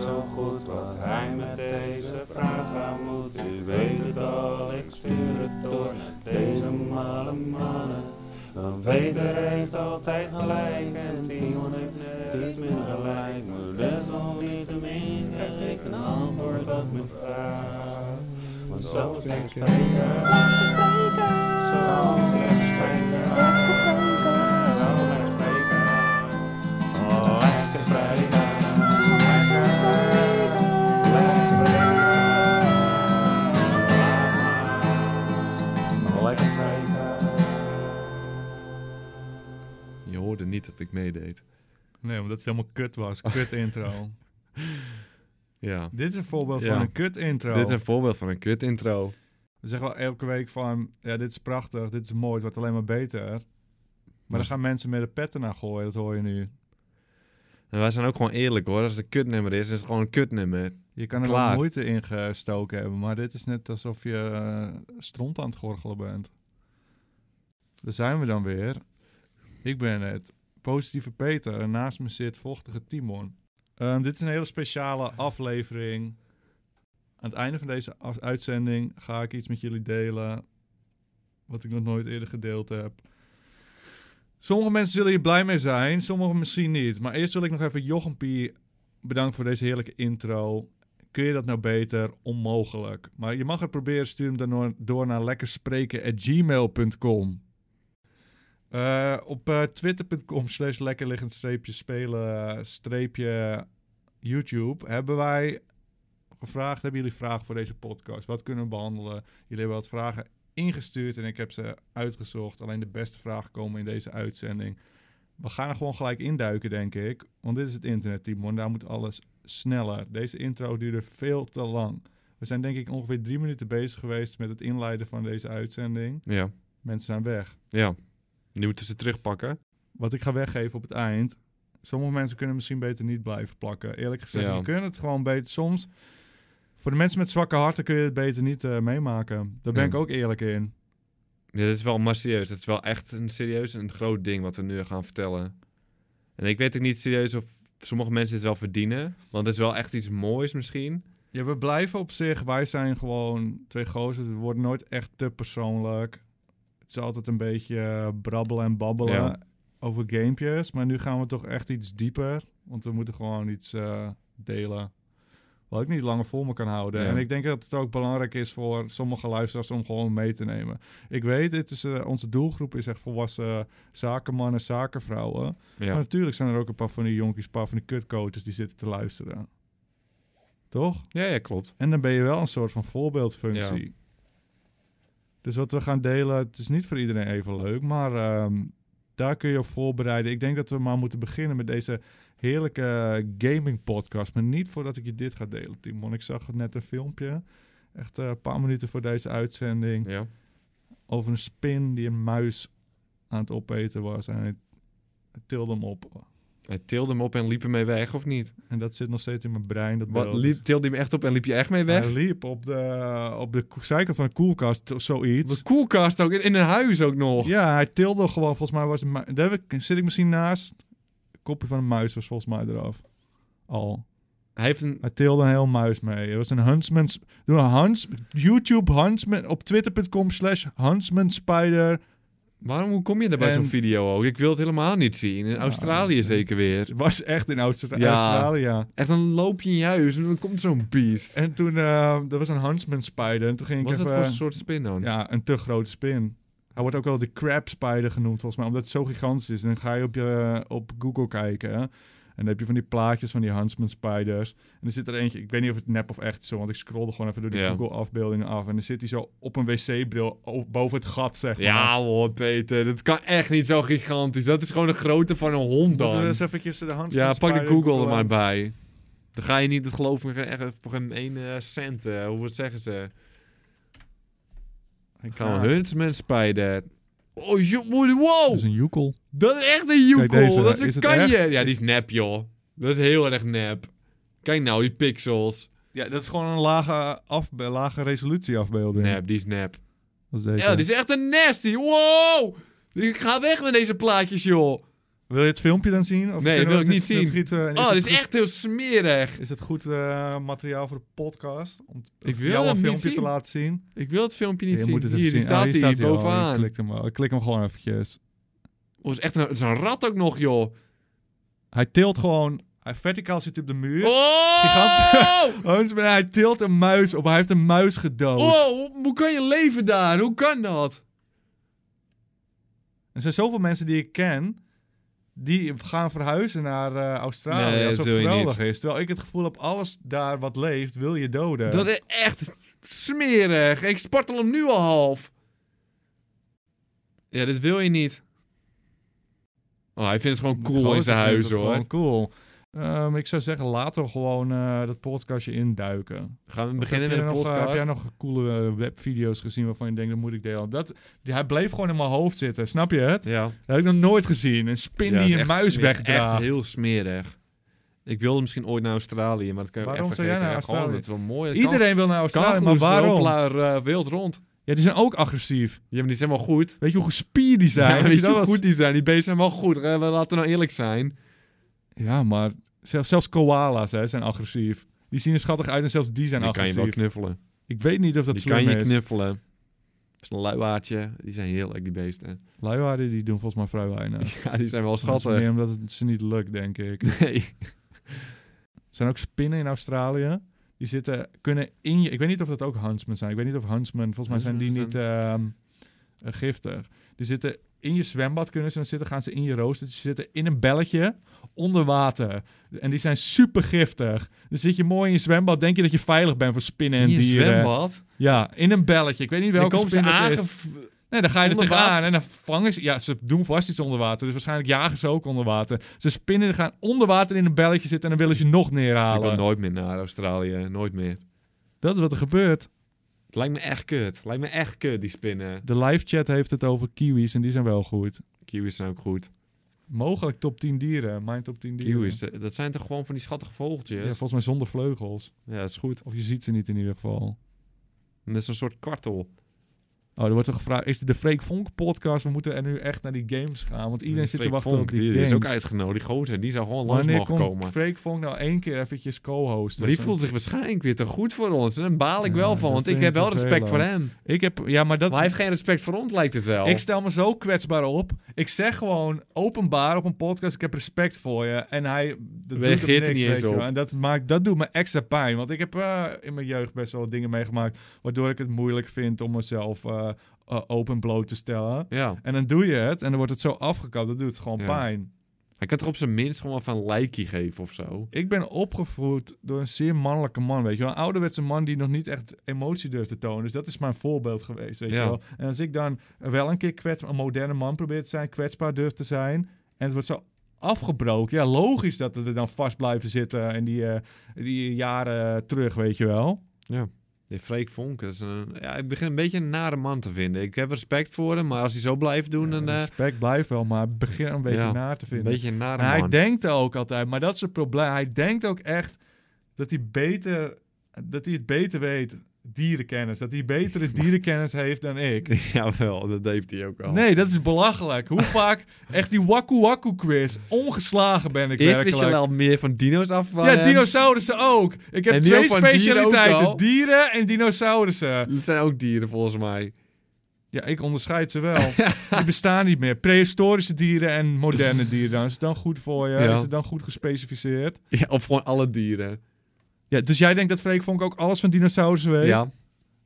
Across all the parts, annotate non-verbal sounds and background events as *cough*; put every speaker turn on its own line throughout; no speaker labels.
zo goed wat hij met deze vraag aan moet. U weet het al, ik stuur het door naar deze malle mannen. Want Peter heeft altijd gelijk en Timon heeft net iets minder gelijk. Maar desalniettemin krijg ik een antwoord op mijn vraag. Want zo slecht spreken, zo slecht spreken, zo slecht spreken. Lekker spreken, lekker spreken, lekker spreken. Lekker spreken.
Je hoorde niet dat ik meedeed.
Nee, omdat het helemaal kut
*laughs*
was. Kut intro.
Ja.
Dit is een voorbeeld
Ja.
van een kut intro.
Dit is een voorbeeld van een kut intro.
We zeggen wel elke week van, ja, dit is prachtig, dit is mooi, het wordt alleen maar beter. Maar dan gaan mensen met de petten naar gooien, dat hoor je nu.
En wij zijn ook gewoon eerlijk hoor. Als het een kutnummer is, is het gewoon een kutnummer.
Je kan er
Klaar.
wel moeite in gestoken hebben, maar dit is net alsof je eh, stront aan het gorgelen bent. Daar zijn we dan weer. Ik ben het positieve Peter en naast me zit vochtige Timon. Ehm, dit is een hele speciale aflevering. Aan het einde van deze af- uitzending ga ik iets met jullie delen wat ik nog nooit eerder gedeeld heb. Sommige mensen zullen hier blij mee zijn, sommige misschien niet. Maar eerst wil ik nog even Jochempie bedankt voor deze heerlijke intro. Kun je dat nou beter? Onmogelijk. Maar je mag het proberen. Stuur hem dan door- door naar lekkerspreken.gmail.com. Eh, op eh, twitter.com slash lekkerliggend streepje spelen eh, streepje YouTube hebben wij gevraagd, hebben jullie vragen voor deze podcast? Wat kunnen we behandelen? Jullie hebben wat vragen ingestuurd en ik heb ze uitgezocht. Alleen de beste vragen komen in deze uitzending. We gaan er gewoon gelijk induiken, denk ik. Want dit is het internet, Timon. Daar moet alles sneller. Deze intro duurde veel te lang. We zijn denk ik ongeveer drie minuten bezig geweest met het inleiden van deze uitzending.
Ja.
Mensen zijn weg.
Ja. Die moeten ze terugpakken.
Wat ik ga weggeven op het eind. Sommige mensen kunnen misschien beter niet blijven plakken. Eerlijk gezegd,
Ja.
je kunt het gewoon beter. Soms, voor de mensen met zwakke harten kun je het beter niet eh, meemaken. Daar ben
Ja.
ik ook eerlijk in.
Ja, dit is wel maar serieus. Dit is wel echt een serieus en groot ding wat we nu gaan vertellen. En ik weet ook niet serieus of sommige mensen dit wel verdienen. Want het is wel echt iets moois misschien.
Ja, we blijven op zich. Wij zijn gewoon twee gozers. We worden nooit echt te persoonlijk. Het is altijd een beetje eh, brabbelen en babbelen
Ja.
over gamepjes. Maar nu gaan we toch echt iets dieper. Want we moeten gewoon iets eh, delen. Wat ik niet langer voor me kan houden.
Ja.
En ik denk dat het ook belangrijk is voor sommige luisteraars om gewoon mee te nemen. Ik weet, het is, eh, onze doelgroep is echt volwassen zakenmannen, zakenvrouwen. Maar
Ja.
natuurlijk zijn er ook een paar van die jonkies, een paar van die kutcoaches die zitten te luisteren. Toch?
Ja, ja, klopt.
En dan ben je wel een soort van voorbeeldfunctie. Dus wat we gaan delen, het is niet voor iedereen even leuk, maar ehm, daar kun je op voorbereiden. Ik denk dat we maar moeten beginnen met deze heerlijke gaming podcast. Maar niet voordat ik je dit ga delen, Timon. Ik zag net een filmpje, echt eh, een paar minuten voor deze uitzending,
Ja.
over een spin die een muis aan het opeten was. En hij tilde hem op.
Hij tilde hem op en liep ermee weg, of niet?
En dat zit nog steeds in mijn brein. Dat
Wat,
beeld.
liep, tilde hij hem echt op en dus- liep je echt mee weg?
Hij liep op de, op de ko- zijkant van een koelkast, of zoiets.
De koelkast ook, in, in een huis ook nog.
Ja, hij tilde gewoon. Volgens mij was het... mu- Daar heb ik- zit ik misschien naast. Het kopje van een muis was volgens mij eraf. Al.
Hij heeft een...
Hij tilde een heel muis mee. Het was een Huntsman... sp- Doe een Hans... YouTube Huntsman... Op twitter.com slash Huntsman Spider.
Waarom, hoe kom je daar bij
En-
zo'n video ook? Ik wil het helemaal niet zien. In Australië zeker weer.
Het was echt in Oost-
Ja.
Australië.
Echt, dan loop je in je huis en dan komt zo'n beest.
En toen... eh er was een Huntsman Spider. En toen ging
Wat is
ik
dat
even... eh,
voor soort spin dan?
Ja, een te grote spin. Hij wordt ook wel de crab spider genoemd, volgens mij, omdat het zo gigantisch is. En dan ga je op, je, op Google kijken. hè. En dan heb je van die plaatjes van die Huntsman spiders. En er zit er eentje, ik weet niet of het nep of echt is, zo, want ik scrollde gewoon even door de
Ja.
Google afbeeldingen af. En dan zit hij zo op een wc-bril o- boven het gat, zeg maar.
Ja hoor, Peter. Dat kan echt niet zo gigantisch. Dat is gewoon de grootte van een hond
Moeten we eens
dan.
eventjes de Huntsman
Ja, pak de
spider
Google er
googlen?
maar bij. Dan ga je niet, dat geloof ik, echt voor geen ene cent. eh, Hoe zeggen ze?
Ik
Gaan
ga-
we Huntsman Spider. Oh, jo-
Dat is
wow!
een joekel.
Dat is echt een
Kijk,
joekel.
deze,
Dat is
is
een
het
kanje.
echt?
Ja, die is nep, joh. Dat is heel erg nep. Kijk nou, die pixels.
Ja, dat is gewoon een lage, afbe lage resolutie afbeelding.
Nep, die is nep.
Dat is deze.
Ja, die is echt een nasty. Wow! Ik ga weg met deze plaatjes, joh.
Wil je het filmpje dan zien?
Nee,
Of kunnen
wil
we
ik
het
niet
in het
zien.
gieten? En
Oh,
het
dit is
goed-
echt heel smerig.
Is het goed eh, materiaal voor de podcast? Om t-
Ik
om
wil
jou
hem
een
niet
filmpje te
zien.
laten zien.
Ik wil het filmpje niet
je
zien.
moet het even
hier,
zien.
die staat
oh,
hier,
staat al.
bovenaan.
Klik hem, wel. klik hem gewoon eventjes.
Oh, is echt een, het is een rat ook nog, joh.
Hij tilt gewoon... Hij verticaal zit hij op de muur.
Oh!
*laughs* Gigantisch. Hans, maar hij tilt een muis op. Hij heeft een muis gedood.
Oh, hoe- hoe kan je leven daar? Hoe kan dat?
Er zijn zoveel mensen die ik ken... Die gaan verhuizen naar eh, Australië.
Nee,
alsof
dat
het
wil je
geweldig is. Terwijl ik het gevoel heb, alles daar wat leeft, wil je doden.
Dat is echt smerig. Ik spartel hem nu al half. Ja, dit wil je niet. Oh, hij vindt het gewoon
De
cool in
gozer
zijn
vindt
huis,
het
hoor.
Gewoon cool. Ehm, ik zou zeggen, laten we gewoon eh, dat podcastje induiken.
Gaan we
Of
beginnen
heb
met
jij
een
nog, eh,
podcast?
heb jij nog coole eh, webvideo's gezien waarvan je denkt, dat moet ik delen? Dat, die- hij bleef gewoon in mijn hoofd zitten, snap je het?
Ja.
Dat heb ik nog nooit gezien. Een spin
Ja, dat is
die een
echt
muis
smerig.
wegdraagt.
Echt heel smerig. Ik wilde misschien ooit naar Australië, maar dat kan ik
Waarom
echt
zou jij
vergeten.
naar
Ja, gewoon,
Australië?
dat is wel mooi.
Iedereen wil naar
kan
Australië, maar waarom? Ja,
eh, wild rond.
die zijn ook agressief.
Ja, maar die zijn wel goed.
Weet je hoe gespierd die zijn?
Ja,
Weet je dat
hoe
wat-
goed die zijn? Die beesten zijn wel goed. hè? Laten we nou eerlijk zijn.
Ja, maar zelfs, zelfs koala's hè, zijn agressief. Die zien er schattig uit en zelfs die zijn
die kan je
agressief.
wel knuffelen.
ik weet niet of dat
die
slim
kan je
is.
knuffelen. Dat is een luiaardje. Die zijn heerlijk, die beesten. *laughs*
Luiaarden die doen volgens mij vrij weinig.
Ja, die zijn wel
Dat is
schattig.
meer omdat het ze niet lukt, denk ik. Er
*laughs* Nee.
zijn ook spinnen in Australië. Die zitten, kunnen in je... Ik weet niet of dat ook huntsmen zijn. Ik weet niet of huntsmen... Volgens mij zijn die niet ehm, eh, giftig. Die zitten in je zwembad kunnen ze dan zitten. Gaan ze in je rooster. Ze zitten in een belletje onder water. En die zijn super giftig. Dan zit je mooi in je zwembad. Denk je dat je veilig bent voor spinnen en
In je
dieren.
zwembad.
Ja, in een belletje. Ik weet niet
Dan
welke
komen ze
spin dat is.
aangev...
Nee, dan ga je er
Onder
tegenaan
water?
en dan vangen ze... Ja, ze doen vast iets onder water. Dus waarschijnlijk jagen ze ook onder water. Ze spinnen, gaan onder water in een belletje zitten en dan willen ze je nog
Ik wil
neerhalen.
nooit meer naar Australië. Nooit meer.
Dat is wat er gebeurt.
Het lijkt me echt kut. Het lijkt me echt kut, die spinnen.
De live chat heeft het over kiwis en die zijn wel goed.
Kiwis zijn ook goed.
Mogelijk top 10 dieren. Mijn top 10 dieren.
Kiwis, eh, dat zijn toch gewoon van die schattige
Ja,
vogeltjes? Ja,
volgens mij zonder vleugels.
dat is goed.
Of je ziet ze niet in ieder geval.
En dat is een soort kwartel.
Oh, er wordt er gevraagd, is dit de Freek Vonk podcast? We moeten er nu echt naar die games gaan, want iedereen zit te
Freek
wachten
Vonk,
op die,
die, die
games.
is ook uitgenodigd. Die gozer, die zou gewoon langs
Wanneer
mogen
komt
komen.
Freek Vonk nou één keer eventjes co-hosten?
Maar die
Zo-
voelt zich waarschijnlijk weer te goed voor ons. En daar baal ik
Ja,
wel van,
dat
want ik
vind
heb
ik
wel respect voor
vervelend.
hem.
Ik heb, ja, maar dat...
Maar hij heeft geen respect voor ons, lijkt het wel.
Ik stel me zo kwetsbaar op. Ik zeg gewoon openbaar op een podcast: ik heb respect voor je. En hij dat
Reageert
doet hem
er niet
niks,
eens
weet je
op.
wel. En dat, maakt, dat doet me extra pijn. Want ik heb eh, in mijn jeugd best wel dingen meegemaakt. waardoor ik het moeilijk vind om mezelf eh, eh, open bloot te stellen.
Ja.
En dan doe je het en dan wordt het zo afgekapt. Dat doet gewoon
Ja.
pijn.
Hij kan toch op zijn minst gewoon even een likeje geven of zo.
Ik ben opgevoed door een zeer mannelijke man. Weet je wel, een ouderwetse man die nog niet echt emotie durft te tonen. Dus dat is mijn voorbeeld geweest. Weet
Ja.
je wel. En als ik dan wel een keer kwetsbaar, een moderne man probeer te zijn, kwetsbaar durft te zijn. En het wordt zo afgebroken. Ja, logisch dat we er dan vast blijven zitten. En die, eh, die jaren terug, weet je wel.
Die Freek Vonk, dat is een, ja, ik begin een beetje een nare man te vinden. Ik heb respect voor hem, maar als hij zo blijft doen, dan eh,
Respect blijft wel, maar begin een beetje
Ja,
naar te
een
vinden.
beetje een nare
En Nou, hij
man.
denkt ook altijd, maar dat is het probleem. Hij denkt ook echt dat hij, beter, dat hij het beter weet, dierenkennis. Dat hij
*laughs*
betere dierenkennis heeft dan ik.
*laughs* Jawel, dat heeft hij ook al.
Nee, dat is
*laughs*
belachelijk. Hoe vaak echt die waku waku quiz. Ongeslagen ben ik
Eerst wist je
werkelijk.
wel meer van dino's af. eh, van
ja,
hem.
dinosaurussen ook. Ik heb
En die
twee
ook van dieren ook
specialiteiten.
al.
Dieren en dinosaurussen.
*laughs* Dat zijn ook dieren volgens mij.
Ja, ik onderscheid
*laughs*
ze wel. Die bestaan niet meer. Prehistorische dieren en moderne dieren. Dan is het dan goed voor je?
Ja.
Is het dan goed gespecificeerd?
Ja, of gewoon alle dieren.
Ja, dus jij denkt dat Freek Vonk ook alles van dinosaurussen weet?
Ja.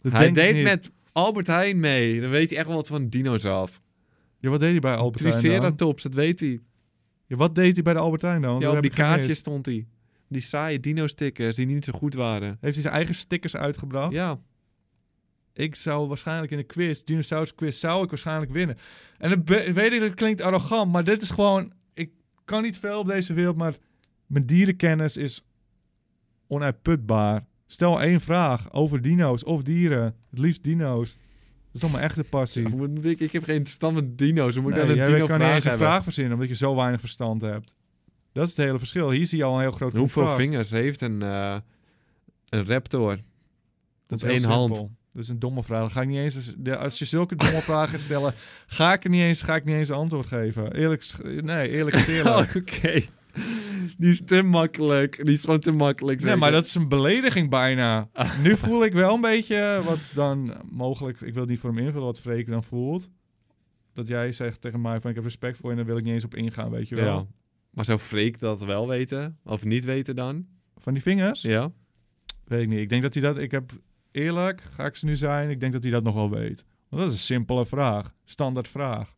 Dat
Hij
denk ik
deed
niet.
met Albert Heijn mee. Dan weet hij echt wel wat van dino's af.
Ja, wat deed hij bij Albert Heijn dan?
Triceratops, dat weet hij.
Ja, wat deed hij bij de Albert Heijn dan? Dat
Ja, op
heb
die
ik gemist.
kaartjes stond hij. Die saaie dino-stickers die niet zo goed waren.
Heeft hij zijn eigen stickers uitgebracht?
Ja.
Ik zou waarschijnlijk in de quiz, dinosaurus quiz, zou ik waarschijnlijk winnen. En dat be- weet ik, dat klinkt arrogant, maar dit is gewoon... Ik kan niet veel op deze wereld, maar mijn dierenkennis is onuitputbaar. Stel één vraag over dino's of dieren. Het liefst dino's. Dat is toch mijn echte passie.
Hoe moet ik, ik heb geen verstand van dino's. Hoe moet ik
Nee,
aan een
jij
dino
kan niet eens
vragen
een
hebben?
vraag verzinnen, omdat je zo weinig verstand hebt. Dat is het hele verschil. Hier zie je al een heel groot
Hoeveel
contrast. *laughs*
vingers heeft een, eh, een raptor?
Dat
op
heel
één hand?
simpel. Dat is een domme vraag. Dan Ga ik niet eens, als- de- als je zulke domme
*laughs*
vragen stellen, ga ik er niet eens, ga ik niet eens antwoord geven. Eerlijk, sch- nee, eerlijk
*laughs*
is
Oh,
eerlijk.
Oké. Die is te makkelijk. Die is gewoon te makkelijk.
Nee,
zeker? Ah.
maar dat is een belediging bijna. Nu voel ik wel een beetje wat dan mogelijk, ik wil het niet voor hem invullen, wat Freek dan voelt. Dat jij zegt tegen mij van ik heb respect voor je en daar wil ik niet eens op ingaan, weet je wel.
Ja. Maar zou Freek dat wel weten? Of niet weten dan?
Van die vingers?
Ja.
Weet ik niet. Ik denk dat hij dat. Ik heb eerlijk, ga ik ze nu zijn. Ik denk dat hij dat nog wel weet. Want dat is een simpele vraag. Standaard vraag.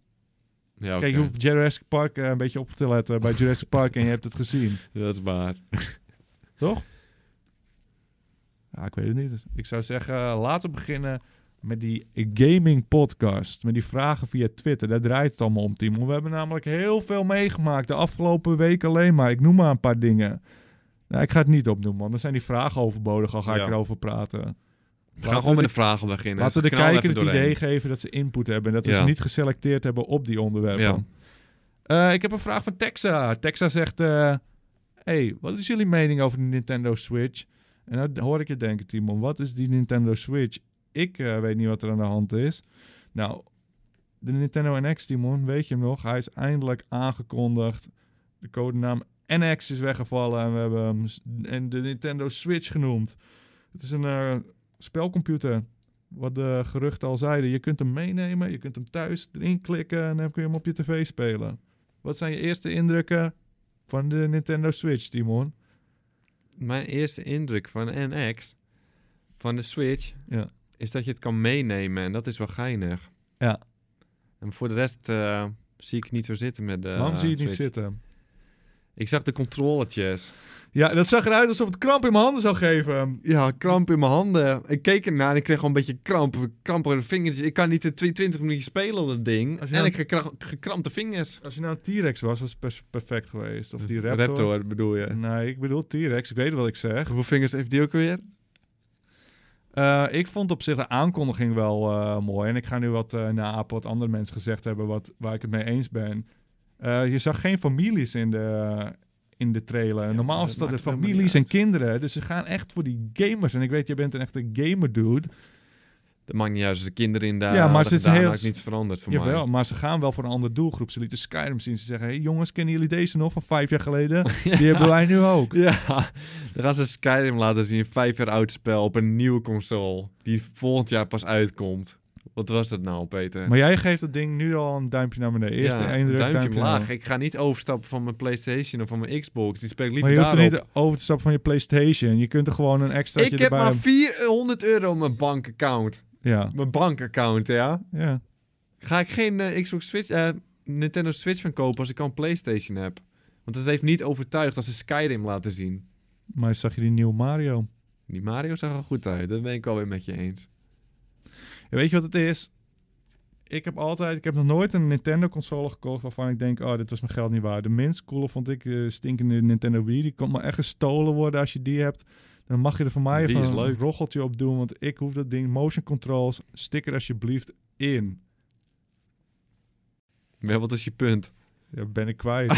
Ja,
Kijk, je
oké.
hoeft Jurassic Park eh, een beetje op te letten bij Jurassic Park en je hebt het gezien.
Dat is waar.
Toch? Ja, ik weet het niet. Dus Ik zou zeggen, laten we beginnen met die gaming podcast. Met die vragen via Twitter. Daar draait het allemaal om, Timo. We hebben namelijk heel veel meegemaakt de afgelopen week alleen maar. Ik noem maar een paar dingen. Nou, ik ga het niet opnoemen, want dan zijn die vragen overbodig. Al ga
Ja.
ik erover praten.
We
Laten
gaan
we
gewoon met de vragen beginnen.
Laten we de
Knal er
kijker
even
het idee
doorheen.
geven dat ze input hebben. En dat we
Ja.
ze niet geselecteerd hebben op die onderwerpen.
Ja.
Eh, ik heb een vraag van Texa. Texa zegt... eh, hey, wat is jullie mening over de Nintendo Switch? En dan hoor ik je denken, Timon. Wat is die Nintendo Switch? Ik eh, weet niet wat er aan de hand is. Nou, de Nintendo NX, Timon, weet je hem nog? Hij is eindelijk aangekondigd. De codenaam NX is weggevallen en we hebben hem s- en de Nintendo Switch genoemd. Het is een eh, spelcomputer. Wat de geruchten al zeiden. Je kunt hem meenemen, je kunt hem thuis erin klikken en dan kun je hem op je tv spelen. Wat zijn je eerste indrukken van de Nintendo Switch, Timon?
Mijn eerste indruk van NX, van de Switch,
Ja.
is dat je het kan meenemen. En dat is wel geinig.
Ja.
En voor de rest eh, zie ik niet zo zitten met de
Waarom zie je het niet
Eh, Switch.
zitten?
Ik zag de controletjes.
Ja, dat zag eruit alsof het kramp in mijn handen zou geven.
Ja, kramp in mijn handen. Ik keek ernaar en ik kreeg gewoon een beetje kramp. Krampige vingertjes. Ik kan niet de 22 minuten spelen op dat ding.
Als je
En
nou-
ik gekra- gekrampte vingers.
Als je nou een T-Rex was, was het pers- perfect geweest. Of die raptor.
Raptor bedoel je.
Nee, ik bedoel T-Rex. Ik weet wat ik zeg.
Hoeveel vingers heeft die ook weer?
Eh, ik vond op zich de aankondiging wel eh, mooi. En ik ga nu wat eh naapen wat andere mensen gezegd hebben, wat, waar ik het mee eens ben. Eh, je zag geen families in de, in de trailer.
maar
Normaal
dat
is dat de
maakt helemaal
families en
niet
kinderen. Dus ze gaan echt voor die gamers. En ik weet, jij bent een echte gamer dude.
Dat maakt niet uit. Als de kinderen in daar
Ja, maar
hadden
ze is
gedaan,
heel-
had ik niet veranderd voor mij.
Jawel, maar ze gaan wel voor een andere doelgroep. Ze lieten Skyrim zien. Ze zeggen, hey jongens, kennen jullie deze nog van vijf jaar
*laughs*
geleden? Die hebben wij nu ook.
Ja, dan gaan ze Skyrim laten zien. Een vijf jaar oud spel op een nieuwe console. Die volgend jaar pas uitkomt. Wat was dat nou, Peter?
Maar jij geeft dat ding nu al een duimpje naar beneden. Eerst
Ja,
een indruk,
duimpje,
naar
omlaag.
beneden.
Ik ga niet overstappen van mijn PlayStation of van mijn Xbox. Die speel ik
Maar
liever
je hoeft er
daarop.
niet over te stappen van je PlayStation. Je kunt er gewoon een extra
Ik heb
erbij
maar
hebben.
400 euro op mijn bankaccount.
Ja,
Mijn bankaccount, ja.
ja.
Ga ik geen eh, Xbox Switch, eh, Nintendo Switch van kopen als ik al een PlayStation heb? Want dat heeft niet overtuigd als ze Skyrim laten zien.
Maar zag je die nieuwe Mario?
Die Mario zag er goed uit. Dat ben ik alweer met je eens.
Ja, weet je wat het is? Ik heb altijd, ik heb nog nooit een Nintendo console gekocht waarvan ik denk, oh, dit was mijn geld niet waard. De minst coole vond ik eh, stinkende Nintendo Wii. Die kon maar echt gestolen worden als je die hebt. Dan mag je er voor mij
Die is
even een
leuk.
rocheltje op doen, want ik hoef dat ding motion controls sticker alsjeblieft in.
Maar wat is je punt?
*laughs* Ja, ben ik
*laughs*
kwijt.
dat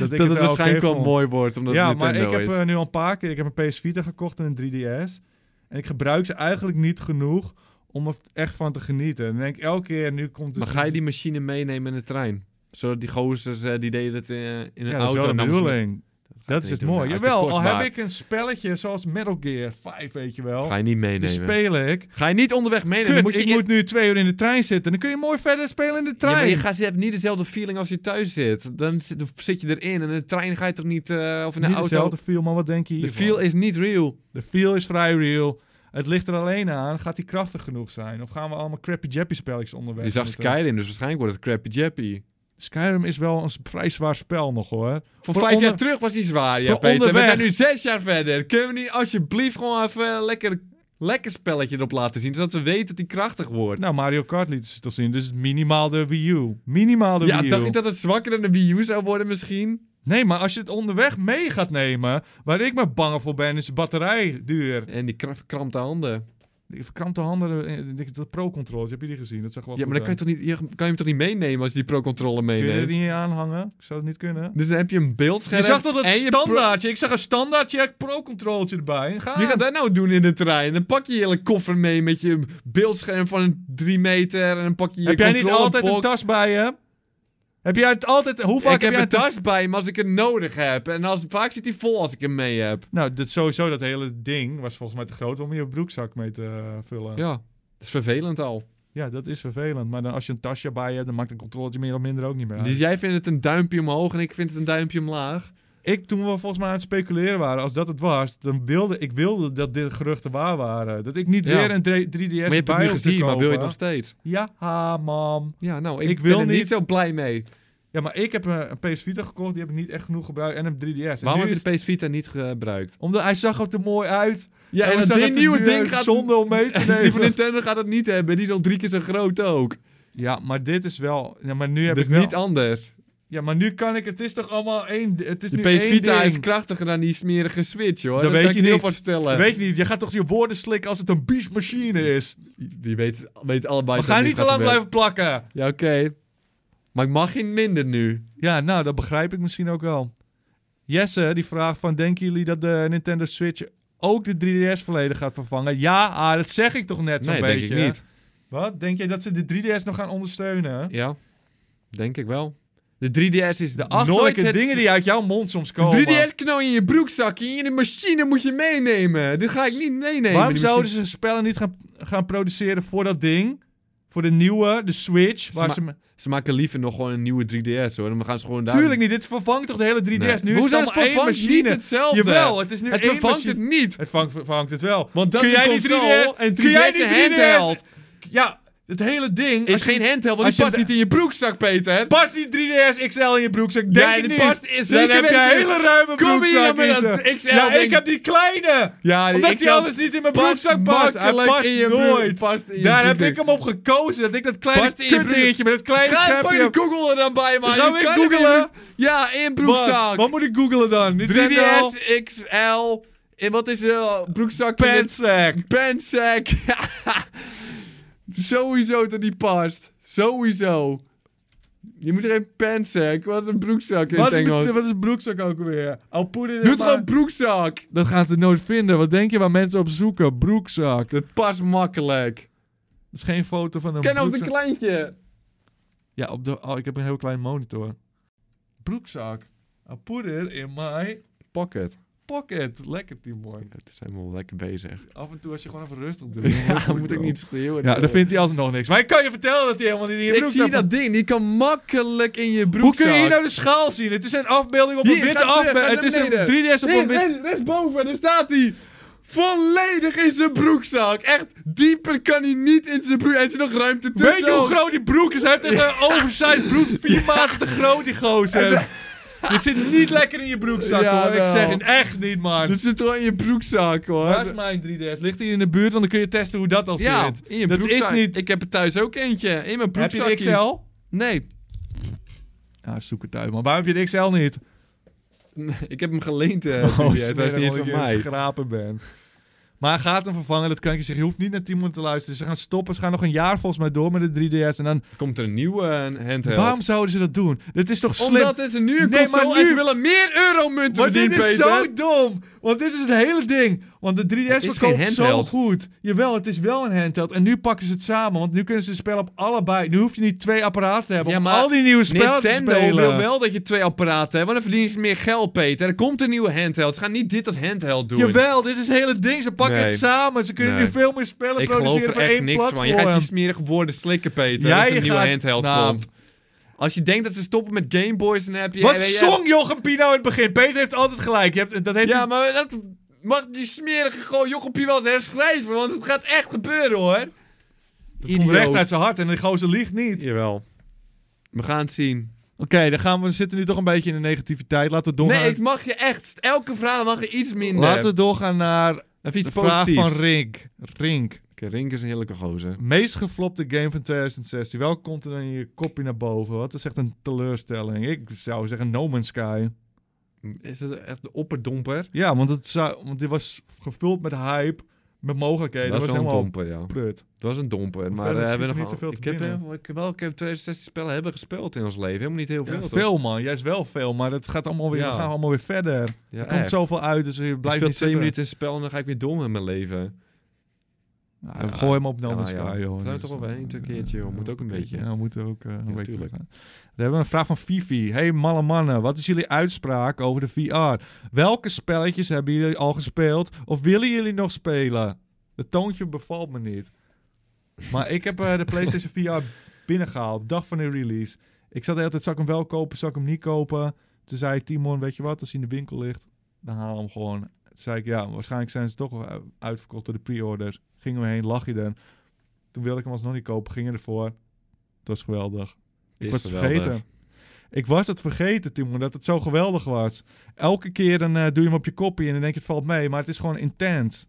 het
het,
wel
waarschijnlijk
oké
wel
vond.
mooi wordt, omdat
ja,
het
maar
Nintendo
ik heb
is.
eh, nu al een paar keer. Ik heb een PS Vita gekocht en een 3DS. En ik gebruik ze eigenlijk niet genoeg om er echt van te genieten. En dan denk ik elke keer, nu komt dus
maar ga je die machine meenemen in de trein? Zodat die gozers, eh, die deden het eh, in een
ja, dat is
auto.
wel de
en namen ze-
bedoeling.
Ga
Dat
je niet
is het
doen,
mooie.
nou, is
Jawel,
te
al heb
kostbaar.
ik een spelletje zoals Metal Gear 5, weet je wel.
Ga je niet
Die
meenemen.
speel ik.
Ga je niet onderweg meenemen.
Kut,
moet je
ik moet nu twee uur in de trein zitten. Dan kun je mooi verder spelen in de
Ja, maar
trein.
je, gaat, je hebt niet dezelfde feeling als je thuis zit. Dan zit, dan zit je erin en in de trein ga je toch niet... eh, of in de
Niet
auto.
dezelfde feel, maar wat denk je
De
hiervan?
feel is niet real.
De feel is vrij real. Het ligt er alleen aan, gaat die krachtig genoeg zijn? Of gaan we allemaal crappy jappy spelletjes onderweg?
Je zag
moeten?
Skyrim, dus waarschijnlijk wordt het crappy jappy.
Skyrim is wel een s- vrij zwaar spel nog hoor.
Voor
Voor
vijf
onder-
jaar terug was hij zwaar, ja
Voor
Peter.
onderweg.
We zijn nu zes jaar verder. Kunnen we niet alsjeblieft gewoon even een lekker, lekker spelletje erop laten zien, zodat we weten dat hij krachtig wordt?
Nou, Mario Kart liet ze toch zien. Dus minimaal de Wii U. Minimaal de
ja,
Wii U.
dacht ik dat het zwakker dan de Wii U zou worden misschien?
Nee, maar als je het onderweg mee gaat nemen, waar ik maar bang voor ben, is de batterij duur.
En die krampt krampte handen.
Die verkrampte handen, eh, die- dat pro-controllers, heb je die gezien? Dat zag wel
Ja, maar dan kan je,
goed
toch niet, je kan je hem toch niet meenemen als je die pro-controller
uit. Kun je
meeneemt?
er niet aanhangen? Ik zou het niet kunnen.
Dus dan heb je een beeldscherm.
Je zag toch dat
en je pro-
standaardje? Ik zag een standaardje pro-controltje erbij. Ga
Wie gaat dat nou doen in de trein? Dan pak je je hele koffer mee met je beeldscherm van een 3 meter. En dan pak je je
Heb jij niet altijd een
controlebox.
tas bij je? Heb jij het altijd... Hoe vaak
Ik heb
jij
een
een tas?
tas bij me als ik het nodig heb. En als, vaak zit hij vol als ik hem mee heb.
Nou, dit, sowieso dat hele ding was volgens mij te groot om je broekzak mee te eh, vullen. Ja.
Ja, dat is vervelend al.
dat is vervelend. Maar dan, als je een tasje bij je hebt, dan maakt een controletje meer of minder ook niet meer uit.
Dus jij vindt het een duimpje omhoog en ik vind het een duimpje omlaag.
Ik, toen we volgens mij aan het speculeren waren, als dat het was, dan wilde ik wilde dat dit geruchten waar waren. Dat ik niet
Ja.
weer een 3, 3DS
maar je hebt het
bij
nu
hoefde te
gezien, maar wil je het
kopen.
nog steeds?
Ja, ha, mam.
Ja, nou, ik,
Ik
ben
wil
er niet
niet.
zo blij mee.
Ja, maar ik heb een, een PS Vita gekocht, die heb ik niet echt genoeg gebruikt. En een 3DS. En
Waarom
nu
heb je
is-
de PS Vita niet gebruikt?
Omdat hij zag er te mooi uit.
Ja, en,
we
dat
zagen
die
het
nieuwe
duur
ding gaat...
Zonder om mee
*laughs*
te
Die van
nemen.
Nintendo gaat het niet hebben. Die is al drie keer zo groot ook.
Ja, maar dit is wel... Ja, maar nu heb
Dus
ik wel...
niet anders.
ja, maar nu kan ik... Het is toch allemaal één... Het is
De
nu
PS
één
Vita
ding.
is krachtiger dan die smerige Switch, hoor.
Dat
Dat,
weet
kan
je
ik heel
niet.
wat vertellen.
Dat Weet je niet, je gaat toch je woorden slikken als het een biesmachine is.
Die weet, weet allebei...
We
dat
gaan
dit
niet te
gaat
lang
gebeuren.
blijven plakken.
Ja, oké. Maar ik mag geen minder nu.
Ja, nou, dat begrijp ik misschien ook wel. Jesse, die vraagt van... Denken jullie dat de Nintendo Switch ook de 3DS volledig gaat vervangen? Ja, ah, dat zeg ik toch net zo'n
nee,
beetje.
denk ik niet.
Wat? Denk jij dat ze de 3DS nog gaan ondersteunen?
Ja, denk ik wel. De 3DS is
De
nooit
achterlijke
het...
dingen die uit jouw mond soms komen.
De 3DS knal je in je broekzakje en in de machine moet je meenemen. Dit ga ik niet meenemen.
Waarom
die
zouden
machine.
ze spellen niet gaan, gaan produceren voor dat ding? Voor de nieuwe, de Switch. Waar
ma-
ze me-
Ze maken liever nog gewoon een nieuwe 3DS hoor. Dan gaan ze gewoon daar...
Tuurlijk niet, dit vervangt toch de hele 3DS? Nu is
Hoe
het allemaal één
vervangt
machine.
niet hetzelfde?
Jawel, het is nu
het
één
vervangt
machine.
het niet.
Het vangt- vervangt het wel.
Want dat
Kun
is een
jij niet
console
3DS?
en 3DS
Kun jij niet
een handheld.
Ja, het hele ding.
Is
als je-
geen handheld, want
als
die
je
past
de-
niet in je broekzak, Peter.
Past die 3DS XL in je broekzak? Denk
Ja,
ik
die
niet.
past is
dan
zeker
heb je
weten.
een hele ruime
Kom hier dan
broekzak.
met
Isse.
dat XL
ja,
ding.
ik heb die kleine.
Ja, die
Omdat die
XL
anders niet in mijn broekzak past. Hij
makkelijk
past
in je broek-
nooit.
Past in je
Daar heb
broekzak.
ik hem op gekozen. Dat ik dat kleine
Past in je broek.
kutdingetje met dat kleine
Ga pak je
schermpje...
Google er dan bij, man.
Gaan
Je
we
kan hem
googlen?
niet- Ja, in broekzak.
Wat? Wat moet ik googelen dan? Nintendo
3DS XL. En wat is er? Oh, Broekzak.
Pantsack.
Pansack. *laughs* Sowieso dat die past. Sowieso. Je moet er geen pantsack. Wat is een broekzak in
Wat
het
is,
Engels?
wat is broekzak ook alweer? I'll put it in
Doe het
my-
gewoon broekzak.
Dat gaan ze nooit vinden. Wat denk je waar mensen op zoeken? Broekzak. Dat
Dat past makkelijk.
is geen foto van een
Ken ook
broekzak.
een kleintje.
Ja, op de... oh, ik heb een heel klein monitor. Broekzak. I'll put it in my
Pak het.
pocket. Lekker, Timon.
Het zijn wel lekker bezig.
Af en toe als je gewoon even rustig doet. dan
*laughs* Ja,
lukt het
moet ik
wel.
niet schreeuwen.
Ja, dan vindt hij alsnog niks. Maar ik kan je vertellen dat hij helemaal niet in je
ik
broekzak...
zie dat ding, die kan makkelijk in je broekzak.
Hoe kun je hier nou de schaal zien? Het is een afbeelding op een
Hier, ga
witte
terug, ga
afbeelding.
naar
Het is een
beneden.
3DS op een
Hier,
wit...
en rechtsboven, daar staat hij. Volledig in zijn broekzak. Echt, dieper kan hij niet in zijn broek. Er is nog ruimte tussen.
Weet je hoe groot die broek is? Hij heeft *laughs* echt een oversized broek. Vier maten te groot, die gozer. Dit zit niet lekker in je broekzak,
Ja,
hoor. Ik
wel.
zeg het echt niet, man.
Dat zit wel in je broekzak, hoor.
Waar is mijn 3DS? Ligt hij in de buurt? Want dan kun je testen hoe dat al
ja,
zit.
in je
dat
broekzak.
is niet...
Ik heb er thuis ook eentje. In mijn
Heb
broekzak.
je de XL?
Nee.
Ja, zoek het uit, man. Waarom heb je de XL *laughs* niet?
*laughs* Ik heb hem geleend,
Oh,
eh Juliet. Hij is niet eens van mij.
schrapen ben. Maar gaat hem vervangen, dat kan ik je zeggen. Je hoeft niet naar 10 minuten te luisteren. Ze gaan stoppen. Ze gaan nog een jaar volgens mij door met de 3DS. En dan...
Komt er een nieuwe eh, handheld.
Waarom zouden ze dat doen? Dit is toch slim?
Omdat het er nu een
Nee,
console
maar
en
nu-
ze willen meer euromunten
Maar dit
verdienen,
is
Peter.
zo dom. Want dit is het hele ding. Want de 3DS
Het is geen
verkoopt zo
handheld.
goed. Jawel, het is wel een handheld. En nu pakken ze het samen. Want nu kunnen ze spelen op allebei. Nu hoef je niet twee apparaten te hebben
Ja,
om
maar
al die nieuwe spellen te
Nintendo
spelen.
wil wel dat je twee apparaten hebt, want dan verdienen ze meer geld, Peter. Er komt een nieuwe handheld. Ze gaan niet dit als handheld doen.
Jawel, dit is het hele ding. Ze pakken
Nee.
het samen. Ze kunnen
Nee.
nu veel meer spellen
ik geloof
produceren
er
voor
echt
één
niks van.
platform.
Je gaat die smerige woorden slikken, Peter.
Ja,
als er
je
een nieuwe
gaat-
handheld
Nou.
komt. Als je denkt dat ze stoppen met Game Boys, dan heb je...
Wat
weet je-
zong Jochem Pino in het begin? Peter heeft altijd gelijk. Je hebt, dat heeft
Ja, maar dat mag die smerige gewoon Jochopie wel eens herschrijven, want het gaat echt gebeuren, hoor.
dat komt recht uit zijn hart en die gozer liegt niet.
Jawel. We gaan het zien.
Oké, dan gaan we, we zitten nu toch een beetje in de negativiteit. Laten we doorgaan.
Nee, ik mag je echt... Elke vraag mag je iets minder.
Laten we doorgaan naar
Even iets
de vraag
positiefs.
van Rink. Rink.
Oké, Rink is een heerlijke gozer.
Meest geflopte game van 2016. Welke komt er dan in je kopje naar boven? Wat is echt een teleurstelling? Ik zou zeggen No Man's Sky.
Is dat echt de opperdomper?
Ja, want, het zou, want dit was gevuld met hype. Met mogelijkheden.
dat
Dat
was
was
zo'n
helemaal
domper, ja.
prut.
Dat was een domper.
Maar
Maar
verder
eh,
schiet
hebben
er
we
niet
nog
zoveel
Ik
te
heb,
binnen.
eh, ik, heb wel, ik heb 2016 spellen hebben gespeeld in ons leven. Helemaal niet heel
Ja,
veel. toch?
veel man, juist wel veel, maar dat gaat allemaal weer,
Ja.
we gaan allemaal weer verder. Er
Ja,
komt
echt.
zoveel uit, dus je
Ik
blijft
speel
niet
twee
zitten.
minuten een spel en dan ga ik weer dom in mijn leven.
Nou,
Ja.
Gooi hem op een andere
Ja, ja.
sky, joh.
Sluit toch
Dus,
wel bij
eh,
één keertje, joh. Moet ook een beetje.
Ja, moet ook eh, een beetje.
tuurlijk.
gaan. We hebben een vraag van Fifi. Hey malle mannen, wat is jullie uitspraak over de VR? Welke spelletjes hebben jullie al gespeeld of willen jullie nog spelen? Het toontje bevalt me niet. Maar ik heb eh, de PlayStation VR binnengehaald, dag van de release. Ik zat de hele tijd, zal ik hem wel kopen, zal ik hem niet kopen? Toen zei Timon, weet je wat, als hij in de winkel ligt, dan haal hem gewoon. Toen zei ik, ja, waarschijnlijk zijn ze toch wel uitverkocht door de pre-orders. Gingen we heen, lag je dan. Toen wilde ik hem alsnog niet kopen, ging ervoor. Het was geweldig.
Dit
Ik
is
was het
geweldig.
vergeten. Ik was het vergeten, Timon, dat het zo geweldig was. Elke keer dan eh, doe je hem op je koppie en dan denk je het valt mee, maar het is gewoon intens.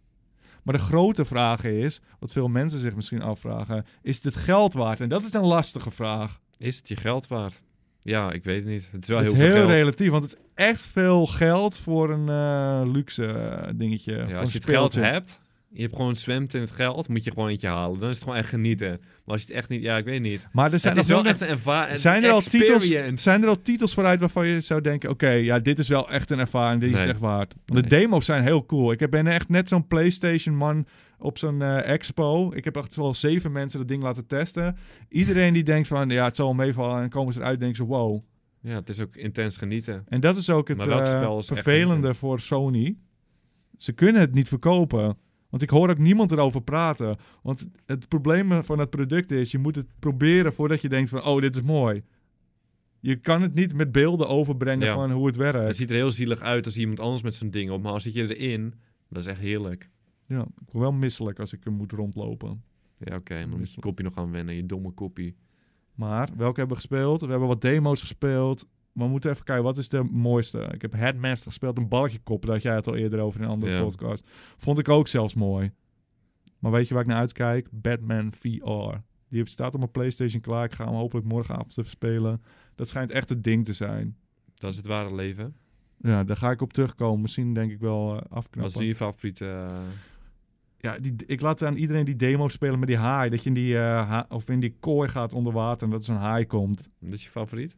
Maar de grote vraag is, wat veel mensen zich misschien afvragen, is dit geld waard? En dat is een lastige vraag.
Is het je geld waard? Ja, ik weet het niet. Het is wel
het
heel
is
veel
heel
geld.
relatief, want het is echt veel geld voor een eh, luxe eh, dingetje. voor
Ja, als
een
je het geld
speeltje.
hebt, je hebt gewoon zwemt in het geld, moet je gewoon eentje halen. Dan is het gewoon echt genieten. Maar als je het echt niet, ja, ik weet niet.
Maar er zijn
het is
nog
wel
wel
echt een ervaring.
zijn er, al titels, zijn er al titels vooruit waarvan je zou denken: oké, ja, dit is wel echt een ervaring, dit
Nee.
is echt waard. Want de
Nee.
demo's zijn heel cool. Ik ben echt net zo'n PlayStation-man op zo'n eh, expo. Ik heb echt wel zeven mensen dat ding laten testen. Iedereen die denkt van, ja, het zal wel meevallen, en dan komen ze eruit, denken ze: wow.
Ja, het is ook intens genieten.
En dat is ook het
Maar welk
eh,
spel is echt niet,
vervelende
hè?
voor Sony. Ze kunnen het niet verkopen. Want ik hoor ook niemand erover praten. Want het probleem van het product is... je moet het proberen voordat je denkt van... oh, dit is mooi. Je kan het niet met beelden overbrengen
Ja.
van hoe het
Het
werkt.
ziet er heel zielig uit als iemand anders met zo'n ding op, maar als zit je erin, dat is echt heerlijk.
Ja, ik word wel misselijk als ik er moet rondlopen.
Ja, oké, maar dan moet je je kopje nog aan wennen, je domme kopie.
Maar welke hebben we gespeeld? We hebben wat demo's gespeeld. Maar we moeten even kijken, wat is de mooiste? Ik heb Headmaster gespeeld, een balkje koppen. Daar had jij het al eerder over in een andere
Ja.
podcast. Vond ik ook zelfs mooi. Maar weet je waar ik naar uitkijk? Batman VR. Die heb- staat op mijn PlayStation klaar. Ik ga hem hopelijk morgenavond even spelen. Dat schijnt echt het ding te zijn.
Dat is het ware leven.
Ja, daar ga ik op terugkomen. Misschien denk ik wel eh,
Wat is nu
afknappen.
je favoriete... eh,
Ja, die, ik laat aan iedereen die demo spelen met die haai. Dat je in die, eh, ha- of in die kooi gaat onder water en dat er zo'n haai komt.
dat is je favoriet?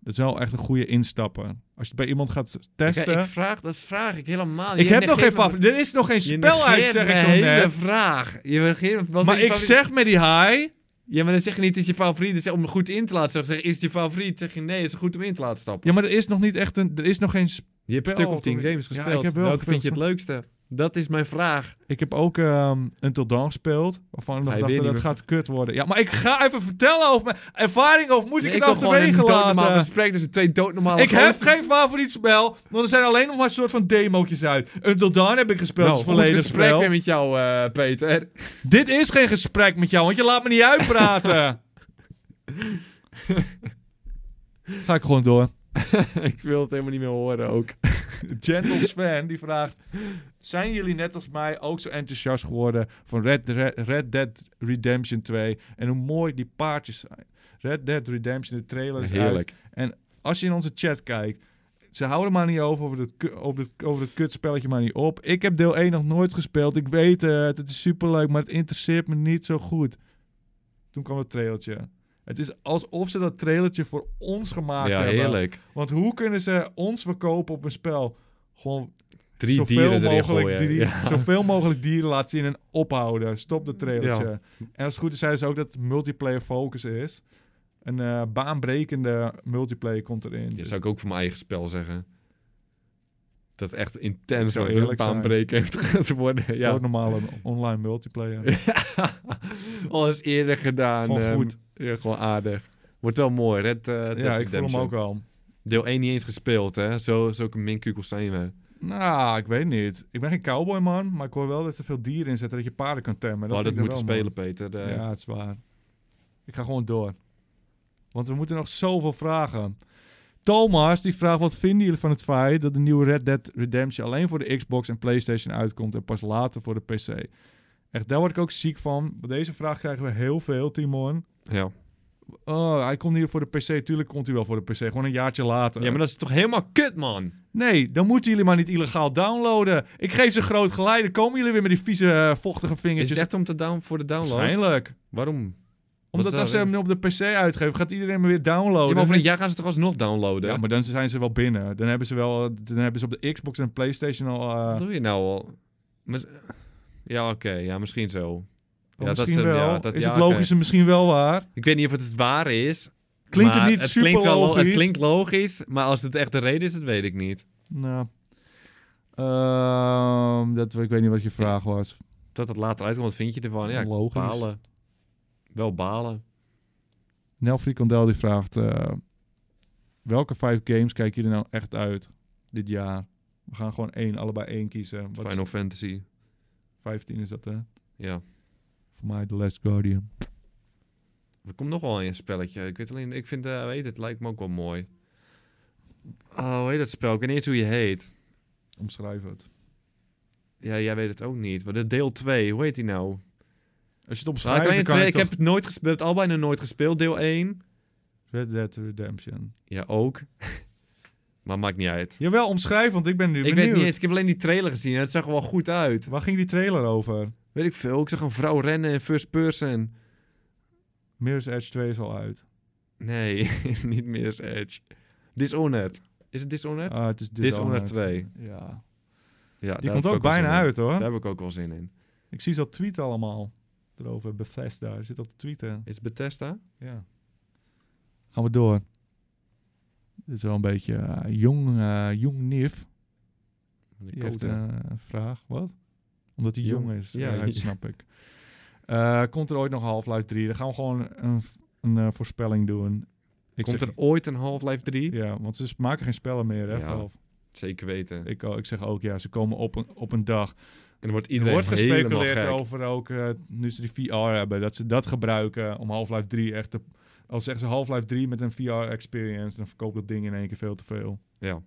Dat is wel echt een goede instapper. Als je het bij iemand gaat testen.
Ik, ik vraag, dat vraag ik helemaal
Ik
Je
heb nog geen
negeert me-
favoriet. Er is nog geen
je
spel uit,
negeert
zeg
mijn
ik toch
hele
net.
vraag. Je negeert- wat is
Maar
je
ik
favoriet?
zeg met die high.
Ja, maar dan zeg je niet, is je favoriet. Dan zeg- om goed in te laten zeggen, zeg, is het je favoriet? zeg je nee, is het goed om in te laten stappen.
Ja, maar er is nog niet echt een. Er is nog geen. sp-
Je hebt een
Spel
stuk of tien
toch-
games
Ja,
gespeeld.
ik heb wel
Welke vind je
gespeeld.
het leukste? Dat is mijn vraag.
Ik heb ook ehm Until Dawn gespeeld. Waarvan ik nog
je
dacht
weer
dat
niet
het
meer-
gaat kut worden. Ja, maar ik ga even vertellen over mijn ervaring. Of moet
Nee,
ik het nou
wil gewoon een
achterwege
doodnormaal
laten?
gesprek tussen twee doodnormale
Ik heb
gozer.
geen favoriet spel. Want er zijn alleen nog maar een soort van demootjes uit. Until Dawn heb ik gespeeld.
Nou,
als
goed
volledig
gesprek
spel.
weer met jou, eh, Peter. *laughs*
Dit is geen gesprek met jou, want je laat me niet *laughs* uitpraten. Ga ik gewoon door.
ik wil het helemaal niet meer horen ook.
Gentle Sven die vraagt: Zijn jullie net als mij ook zo enthousiast geworden van Red, Red, Red Dead Redemption 2 en hoe mooi die paardjes zijn? Red Dead Redemption, de trailer is uit.
Heerlijk.
Als je in onze chat kijkt, ze houden maar niet over, over het, over het, over het kutspelletje maar niet op. Ik heb deel 1 nog nooit gespeeld, ik weet het, het is superleuk, maar het interesseert me niet zo goed. Toen kwam het trailertje. Het is alsof ze dat trailertje voor ons gemaakt
ja,
hebben.
heerlijk.
Want hoe kunnen ze ons verkopen op een spel? Gewoon
Drie
zoveel
dieren erin
mogelijk,
gooien.
dieren,
Ja.
*laughs* zoveel mogelijk dieren laten zien en ophouden. Stop de trailertje. En als het goed is, zeiden ze ook dat het multiplayer focus is. Een eh, baanbrekende multiplayer komt erin.
Dat
Dus-
zou ik ook voor mijn eigen spel zeggen. Dat echt intens
zou
wordt,
eerlijk zijn.
baanbrekend *laughs* gaat worden. Ja. *laughs*
Ook normale online multiplayer.
Alles eerder gedaan.
Gewoon
ehm,
goed.
ja, gewoon aardig. Wordt wel mooi. Red, eh Dead
ja, ik voel hem
Redemption.
ook al.
Deel 1 niet eens gespeeld, hè? Zo, zulke minkukels zijn we.
Nou, ik weet niet. Ik ben geen cowboy man, maar ik hoor wel dat er veel dieren in zitten dat je paarden kan temmen.
We
Dat,
hadden het
vind
Oh,
ik
moeten
dan wel
spelen,
mooi.
Peter. eh.
Ja, het is waar. Ik ga gewoon door. Want we moeten nog zoveel vragen. Thomas die vraagt: wat vinden jullie van het feit dat de nieuwe Red Dead Redemption alleen voor de Xbox en PlayStation uitkomt en pas later voor de PC? Echt, daar word ik ook ziek van. Bij deze vraag krijgen we heel veel, Timon.
ja.
Oh, hij komt hier voor de PC. Tuurlijk komt hij wel voor de PC. Gewoon een jaartje later.
Ja, maar dat is toch helemaal kut, man?
Nee, dan moeten jullie maar niet illegaal downloaden. Ik geef ze groot gelijk. Dan komen jullie weer met die vieze, eh, vochtige
Is
vingertjes.
het echt om te down voor de download?
Waarschijnlijk.
Waarom? Wat is
Omdat
dat
als ze
dan?
hem op de PC uitgeven, gaat iedereen hem weer
Ja,
downloaden.
maar over een jaar gaan ze toch alsnog downloaden?
Ja, maar dan zijn ze wel binnen. Dan hebben ze, wel, eh, dan hebben ze op de Xbox en PlayStation al. eh,
Wat doe je nou al? Met- Ja, oké. ja, misschien zo.
oh,
dat
misschien
is hem,
wel.
ja, dat-
is
ja,
het logische misschien wel waar?
Ik weet niet of het het waar is.
Klinkt
maar
het niet super
klinkt wel-
logisch?
Het klinkt logisch, maar als het echt de reden is, dat weet ik niet.
Nou, ehm, dat, ik weet niet wat je vraag was.
Dat het later uitkomt, wat vind je ervan? Oh, Ja,
Logisch.
balen. Wel balen.
Nel Frikandel die vraagt... eh, welke vijf games kijken jullie nou echt uit dit jaar? We gaan gewoon één, allebei één kiezen. Wat is-
Final Fantasy.
15 is dat, hè?
Ja.
Voor mij The Last Guardian.
Er komt nog wel een spelletje. Ik weet alleen, ik vind, eh weet het, lijkt me ook wel mooi. Oh, hoe heet dat spel? Ik weet niet eens hoe je heet.
Omschrijf het.
Ja, jij weet het ook niet. Maar de deel 2, hoe heet die nou?
Als je het
Nou, ik,
omschrijft,
kan
dan
je
kan
twee-
je
ik
toch...
heb het nooit gespeeld, al bijna nooit gespeeld, deel 1.
Red Dead Redemption.
Ja, ook. *laughs* maar maakt niet uit.
Jawel, omschrijf, want ik ben nu
ik
benieuwd.
weet niet eens, ik heb alleen die trailer gezien en het zag er wel goed uit.
Waar ging die trailer over?
Weet ik veel, ik zag een vrouw rennen in first person.
Mirror's Edge 2 is al uit.
Nee, *laughs* niet meer Edge. Dishonored. Is het Dishonored?
Ah, het is
Dishonored 2.
Ja.
ja,
Die
daar
komt
heb ik
ook
wel
bijna
zin in.
uit, hoor.
Daar heb ik ook wel zin in.
Ik zie zo'n tweet allemaal erover. Bethesda, er zit al te tweeten.
Is het Bethesda?
Ja. Gaan we door. Dit is wel een beetje eh, jong, eh, jong nif.
De
Die heeft
koten.
eh, een vraag. Wat? Omdat hij jong,
Jong.
is.
Ja,
Ja, dat snap ik. Eh, komt er ooit nog Half-Life 3? Dan gaan we gewoon een, een eh, voorspelling doen. Ik
Komt
zeg-
er ooit een Half-Life 3?
Ja, want ze maken geen spellen meer, hè?
Ja.
Valve.
Zeker weten.
Ik, oh, ik zeg ook, ja, ze komen op een, op een dag.
En er wordt
Er
iedereen
wordt
helemaal
gespeculeerd
gek.
over ook, eh, nu ze die VR hebben, dat ze dat gebruiken om Half-Life 3 echt te... Al zeggen ze Half-Life 3 met een VR-experience, dan verkoopt dat ding in één keer veel te veel.
Ja.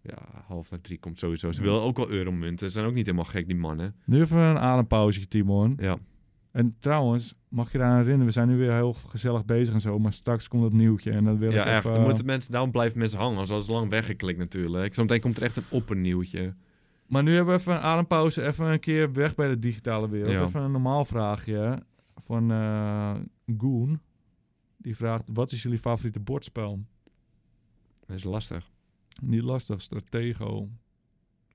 Ja, Half-Life 3 komt sowieso. Ze willen ook wel euromunten. Ze zijn ook niet helemaal gek, die mannen.
Nu even een adempauzetje, Timon.
Ja.
En trouwens, mag je eraan herinneren, we zijn nu weer heel gezellig bezig en zo, maar straks komt dat nieuwtje en dan wil
Ja,
ik
echt.
even... eh,
Dan moeten mensen, daarom blijven mensen hangen. Anders hadden ze lang weggeklikt natuurlijk. Zometeen komt er echt een oppernieuwtje.
Maar nu hebben we even een adempauze, even een keer weg bij de digitale wereld.
Ja.
Even een normaal vraagje van eh Goon. Die vraagt, wat is jullie favoriete bordspel?
Dat is lastig.
Niet lastig, Stratego.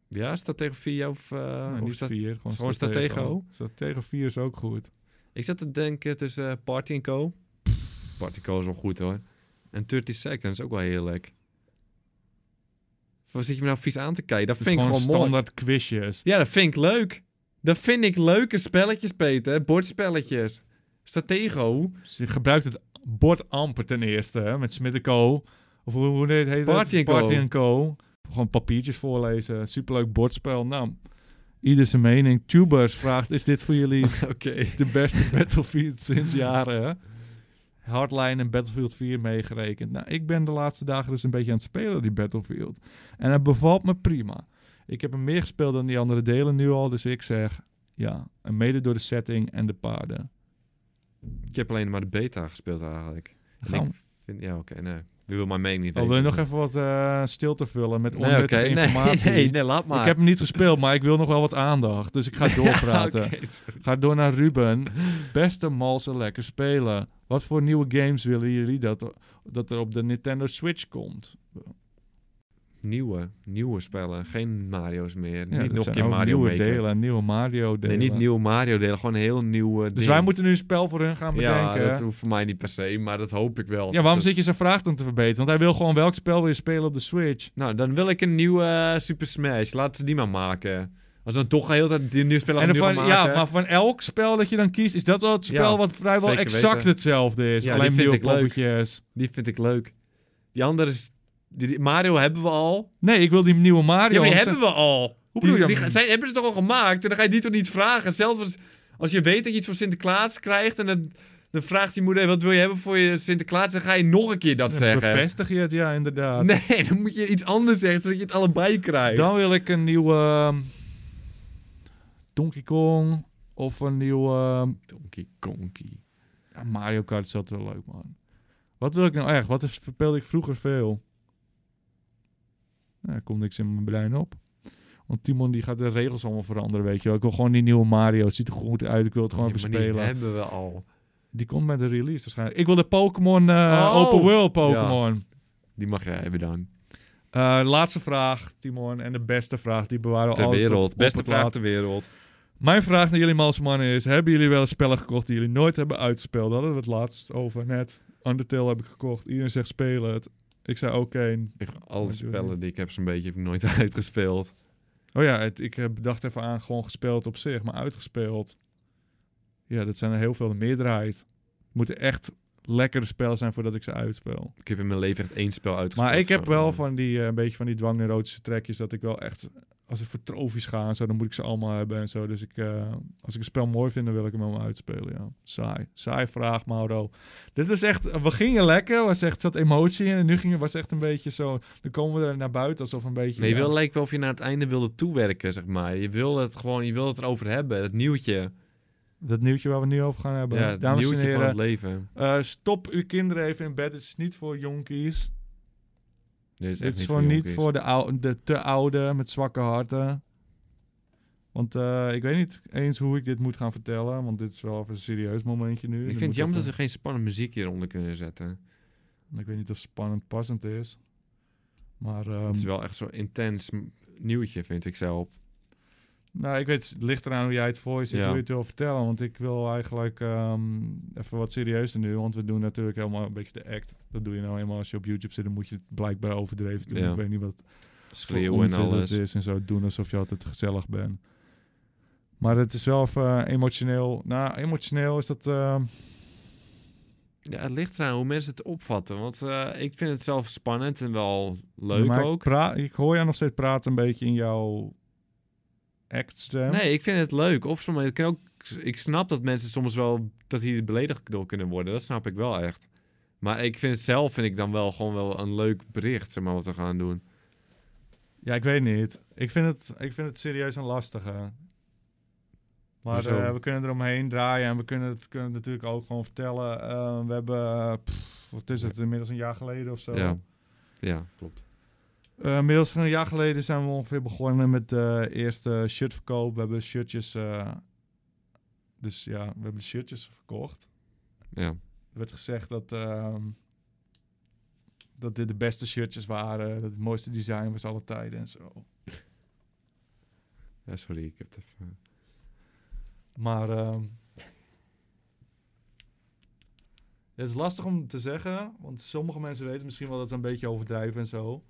Ja, staat tegen 4 of... eh,
Nee,
of
Nou, niet
staat-
vier, gewoon,
gewoon Stratego?
Stratego 4 is ook goed.
Ik zat te denken tussen eh, Party Co. Party Co is wel goed hoor. En 30 Seconds, ook wel heerlijk. Wat zit je me nou vies aan te kijken? Dat
Het is
vind ik
gewoon
gewoon mooi.
standaard quizjes.
Ja, dat vind ik leuk. Dat vind ik leuke spelletjes, Peter. Bordspelletjes.
*laughs*
Stratego.
Dus je gebruikt het bord amper ten eerste, hè, met Smit Co. Of hoe, hoe heet het?
Party Co.
Party Co. Gewoon papiertjes voorlezen. Superleuk bordspel. Nou, ieder zijn mening. Tubers vraagt, is dit voor jullie
Oké.
de beste Battlefield sinds jaren. Hardline en Battlefield 4 meegerekend. Nou, ik ben de laatste dagen dus een beetje aan het spelen, die Battlefield. En het bevalt me prima. Ik heb hem meer gespeeld dan die andere delen nu al, dus ik zeg ja. En mede door de setting en de paarden.
Ik heb alleen maar de beta gespeeld eigenlijk. En
Gaan
ik vind, ja, oké, nee. Nu wil mijn mening niet
we. Oh,
weten.
wil je nog even wat eh, stil te vullen met
nee, *laughs*
onnuttige
oké,
informatie?
Nee, nee, nee, laat maar.
Ik heb hem niet gespeeld, maar ik wil nog wel wat aandacht. Dus ik
*laughs*
ga doorpraten.
Oké, sorry.
Ga door naar Ruben. *laughs* Beste malse lekker spelen. Wat voor nieuwe games willen jullie dat, dat er op de Nintendo Switch komt?
Nieuwe, nieuwe spellen. Geen Mario's meer. niet
Ja, dat
nog een
zijn
keer
ook
Mario
nieuwe
Maker.
delen, en nieuwe Mario
Nee,
delen.
niet nieuwe Mario delen. Gewoon een heel nieuwe
Dus
ding.
wij moeten nu een spel voor hun gaan
Ja,
bedenken.
dat hoeft voor mij niet per se, maar dat hoop ik wel.
ja, waarom
Dat-
zit je zijn vraag dan te verbeteren? Want hij wil gewoon welk spel wil je spelen op de Switch?
Nou, dan wil ik een nieuwe eh, Super Smash. Laten ze die maar maken. Als we dan toch heel tijd die nieuwe spellen
En dan
opnieuw
van,
gaan
ja,
maken.
maar van elk spel dat je dan kiest, is dat wel het spel
Ja,
wat vrijwel
zeker
exact
weten.
hetzelfde is.
Ja, die
alleen
vind
nieuwe
ik leuk.
poppetjes.
Die vind ik leuk. Die andere... is- die- die- Mario hebben we al.
Nee, ik wil die nieuwe Mario.
Ja, maar die
want ze-
hebben we al. Hoe
bedoel je
Die,
dat?
die- zij hebben ze toch al gemaakt? En dan ga je die toch niet vragen? Hetzelfde als, als je weet dat je iets voor Sinterklaas krijgt... en dan, dan vraagt je moeder... wat wil je hebben voor je Sinterklaas? Dan ga je nog een keer dat
Dan
zeggen.
bevestig je het, ja, inderdaad.
Nee, dan moet je iets anders zeggen... zodat je het allebei krijgt.
Dan wil ik een nieuwe ehm, Donkey Kong of een nieuwe ehm,
Donkey Konkie.
Ja, Mario Kart is altijd wel leuk, man. Wat wil ik nou echt? Wat is, verpeelde ik vroeger veel? Nou, er komt niks in mijn brein op. Want Timon die gaat de regels allemaal veranderen, weet je wel. Ik wil gewoon die nieuwe Mario. Het ziet er goed uit. Ik wil het gewoon
Ja, maar die
verspelen.
hebben we al.
Die komt met de release waarschijnlijk. Ik wil de Pokémon eh,
Oh!
Open World Pokémon.
Die mag jij hebben dan.
Eh, laatste vraag, Timon. En de beste vraag. Die bewaren we
Ter
altijd tot
wereld.
op
Beste
het
vraag
laatst.
ter wereld.
Mijn vraag naar jullie mansmannen is... Hebben jullie wel eens spellen gekocht die jullie nooit hebben uitgespeeld? Daar hadden we het laatst over net. Undertale heb ik gekocht. Iedereen zegt spelen het. Ik zei oké.
Ik, alle
doe
spellen die ik heb zo'n beetje heb ik nooit *laughs* uitgespeeld.
Oh ja, het, ik heb bedacht even aan gewoon gespeeld op zich. Maar uitgespeeld... Ja, dat zijn er heel veel. De meerderheid. Het moeten echt lekkere spellen zijn voordat ik ze uitspeel.
Ik heb in mijn leven echt één spel uitgespeeld.
Maar ik heb
zo.
wel van die, eh, een beetje van die dwangneurotische trekjes. Dat ik wel echt, als ik voor trofies ga en zo, dan moet ik ze allemaal hebben en zo. Dus ik, eh, als ik een spel mooi vind, dan wil ik hem helemaal uitspelen, ja. Saai. Saai vraag, Mauro. Dit is echt, we gingen lekker. Was echt, zat emotie in. En nu gingen, was echt een beetje zo, dan komen we er naar buiten alsof een beetje...
Nee, je
ja,
wil lijkt wel of je naar het einde wilde toewerken, zeg maar. Je wil het gewoon, je wil het erover hebben. Het nieuwtje.
Dat nieuwtje waar we nu over gaan hebben.
Ja, het
Dames en
nieuwtje van
heren,
het leven.
eh, stop uw kinderen even in bed. Het is niet voor jonkies.
Dit is echt
Dit is
niet
voor niet
jonkies.
voor de, ou- de te oude met zwakke harten. Want eh, ik weet niet eens hoe ik dit moet gaan vertellen. Want dit is wel even een serieus momentje nu.
Ik vind het jammer dat ze geen spannende muziek hieronder kunnen zetten.
Ik weet niet of spannend passend is. Maar ehm,
het is wel echt zo'n intens m- nieuwtje, vind ik zelf.
nou, ik weet, het ligt eraan hoe jij het voor je ziet,
Ja.
hoe je het wil vertellen. Want ik wil eigenlijk ehm, even wat serieuzer nu. Want we doen natuurlijk helemaal een beetje de act. Dat doe je nou eenmaal als je op YouTube zit. Dan moet je het blijkbaar overdreven doen.
Ja.
Ik weet niet wat
Schreeuwen en alles.
is en zo doen alsof je altijd gezellig bent. Maar het is wel even eh, emotioneel. Nou, emotioneel is dat. eh,
Ja, het ligt eraan hoe mensen het opvatten. Want eh, ik vind het zelf spannend en wel
bij
leuk
mij-
ook.
pra- ik hoor jou nog steeds praten een beetje in jouw actstem.
Nee, ik vind het leuk. Of soms, ik, kan ook, ik snap dat mensen soms wel dat die er beledigd door kunnen worden. Dat snap ik wel echt. Maar ik vind het zelf vind ik dan wel gewoon wel een leuk bericht, zeg maar, wat we gaan doen.
Ja, ik weet niet. Ik vind het, ik vind het serieus een lastige. Maar
Hoezo?
eh, we kunnen eromheen draaien en we kunnen het, kunnen het natuurlijk ook gewoon vertellen. Eh, we hebben, eh, pff, wat is het, inmiddels een jaar geleden of zo.
Ja. ja, klopt.
Eh, inmiddels een jaar geleden zijn we ongeveer begonnen met de eerste shirtverkoop. We hebben shirtjes. eh, dus ja, we hebben shirtjes verkocht.
Ja.
Er werd gezegd dat, ehm, dat dit de beste shirtjes waren. Dat het mooiste design was alle tijden en zo.
ja, sorry, ik heb het even...
Maar ehm, het is lastig om te zeggen, want sommige mensen weten misschien wel dat ze een beetje overdrijven en zo.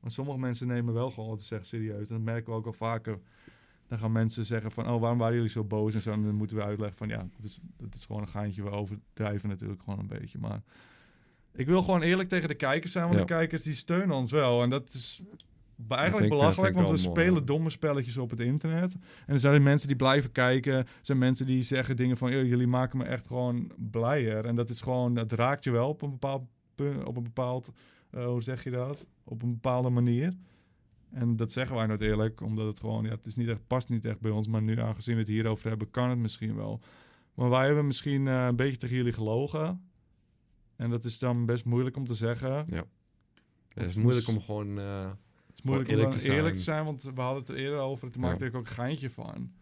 Maar sommige mensen nemen wel gewoon wat ze zeggen serieus. En dat merken we ook al vaker. Dan gaan mensen zeggen van, oh, waarom waren jullie zo boos en zo. En dan moeten we uitleggen van, ja, dat is, dat is gewoon een gaantje. We overdrijven natuurlijk gewoon een beetje, maar... Ik wil gewoon eerlijk tegen de kijkers zijn, want
Ja.
de kijkers die steunen ons wel. En dat is be-
vind
eigenlijk
ik- dat
belachelijk,
vind
want
ik
we
wel mooi.
spelen domme spelletjes op het internet. En er zijn mensen die blijven kijken. Er zijn mensen die zeggen dingen van... "Yo, jullie maken me echt gewoon blijer. En dat is gewoon... Dat raakt je wel op een bepaald... punt- Op een bepaald eh, hoe zeg je dat? Op een bepaalde manier. En dat zeggen wij nooit eerlijk. Omdat het gewoon... Ja, het is niet echt, past niet echt bij ons. Maar nu, aangezien we het hierover hebben... kan het misschien wel. Maar wij hebben misschien eh, een beetje tegen jullie gelogen. En dat is dan best moeilijk om te zeggen.
Het is
Het
moeilijk
moest-
om gewoon... eh,
Het is moeilijk om
eerlijk
dan
te zijn.
eerlijk te zijn, want we hadden het er eerder over. Het maakte ik ook een geintje van.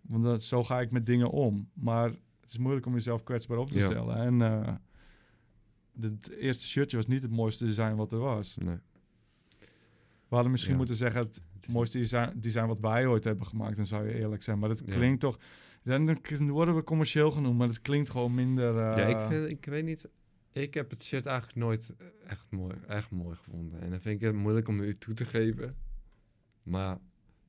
Want dat, zo ga ik met dingen om. Maar het is moeilijk om jezelf kwetsbaar op te
Ja.
stellen. En eh, de- het eerste shirtje was niet het mooiste design wat er was.
nee.
We hadden misschien
Ja.
moeten zeggen het mooiste design, design wat wij ooit hebben gemaakt. Dan zou je eerlijk zijn. Maar dat
Ja.
klinkt toch... Dan dan worden we commercieel genoemd, maar dat klinkt gewoon minder... eh,
Ja, ik, vind, ik weet niet. Ik heb het shirt eigenlijk nooit echt mooi, echt mooi gevonden. En dan vind ik het moeilijk om u toe te geven. Maar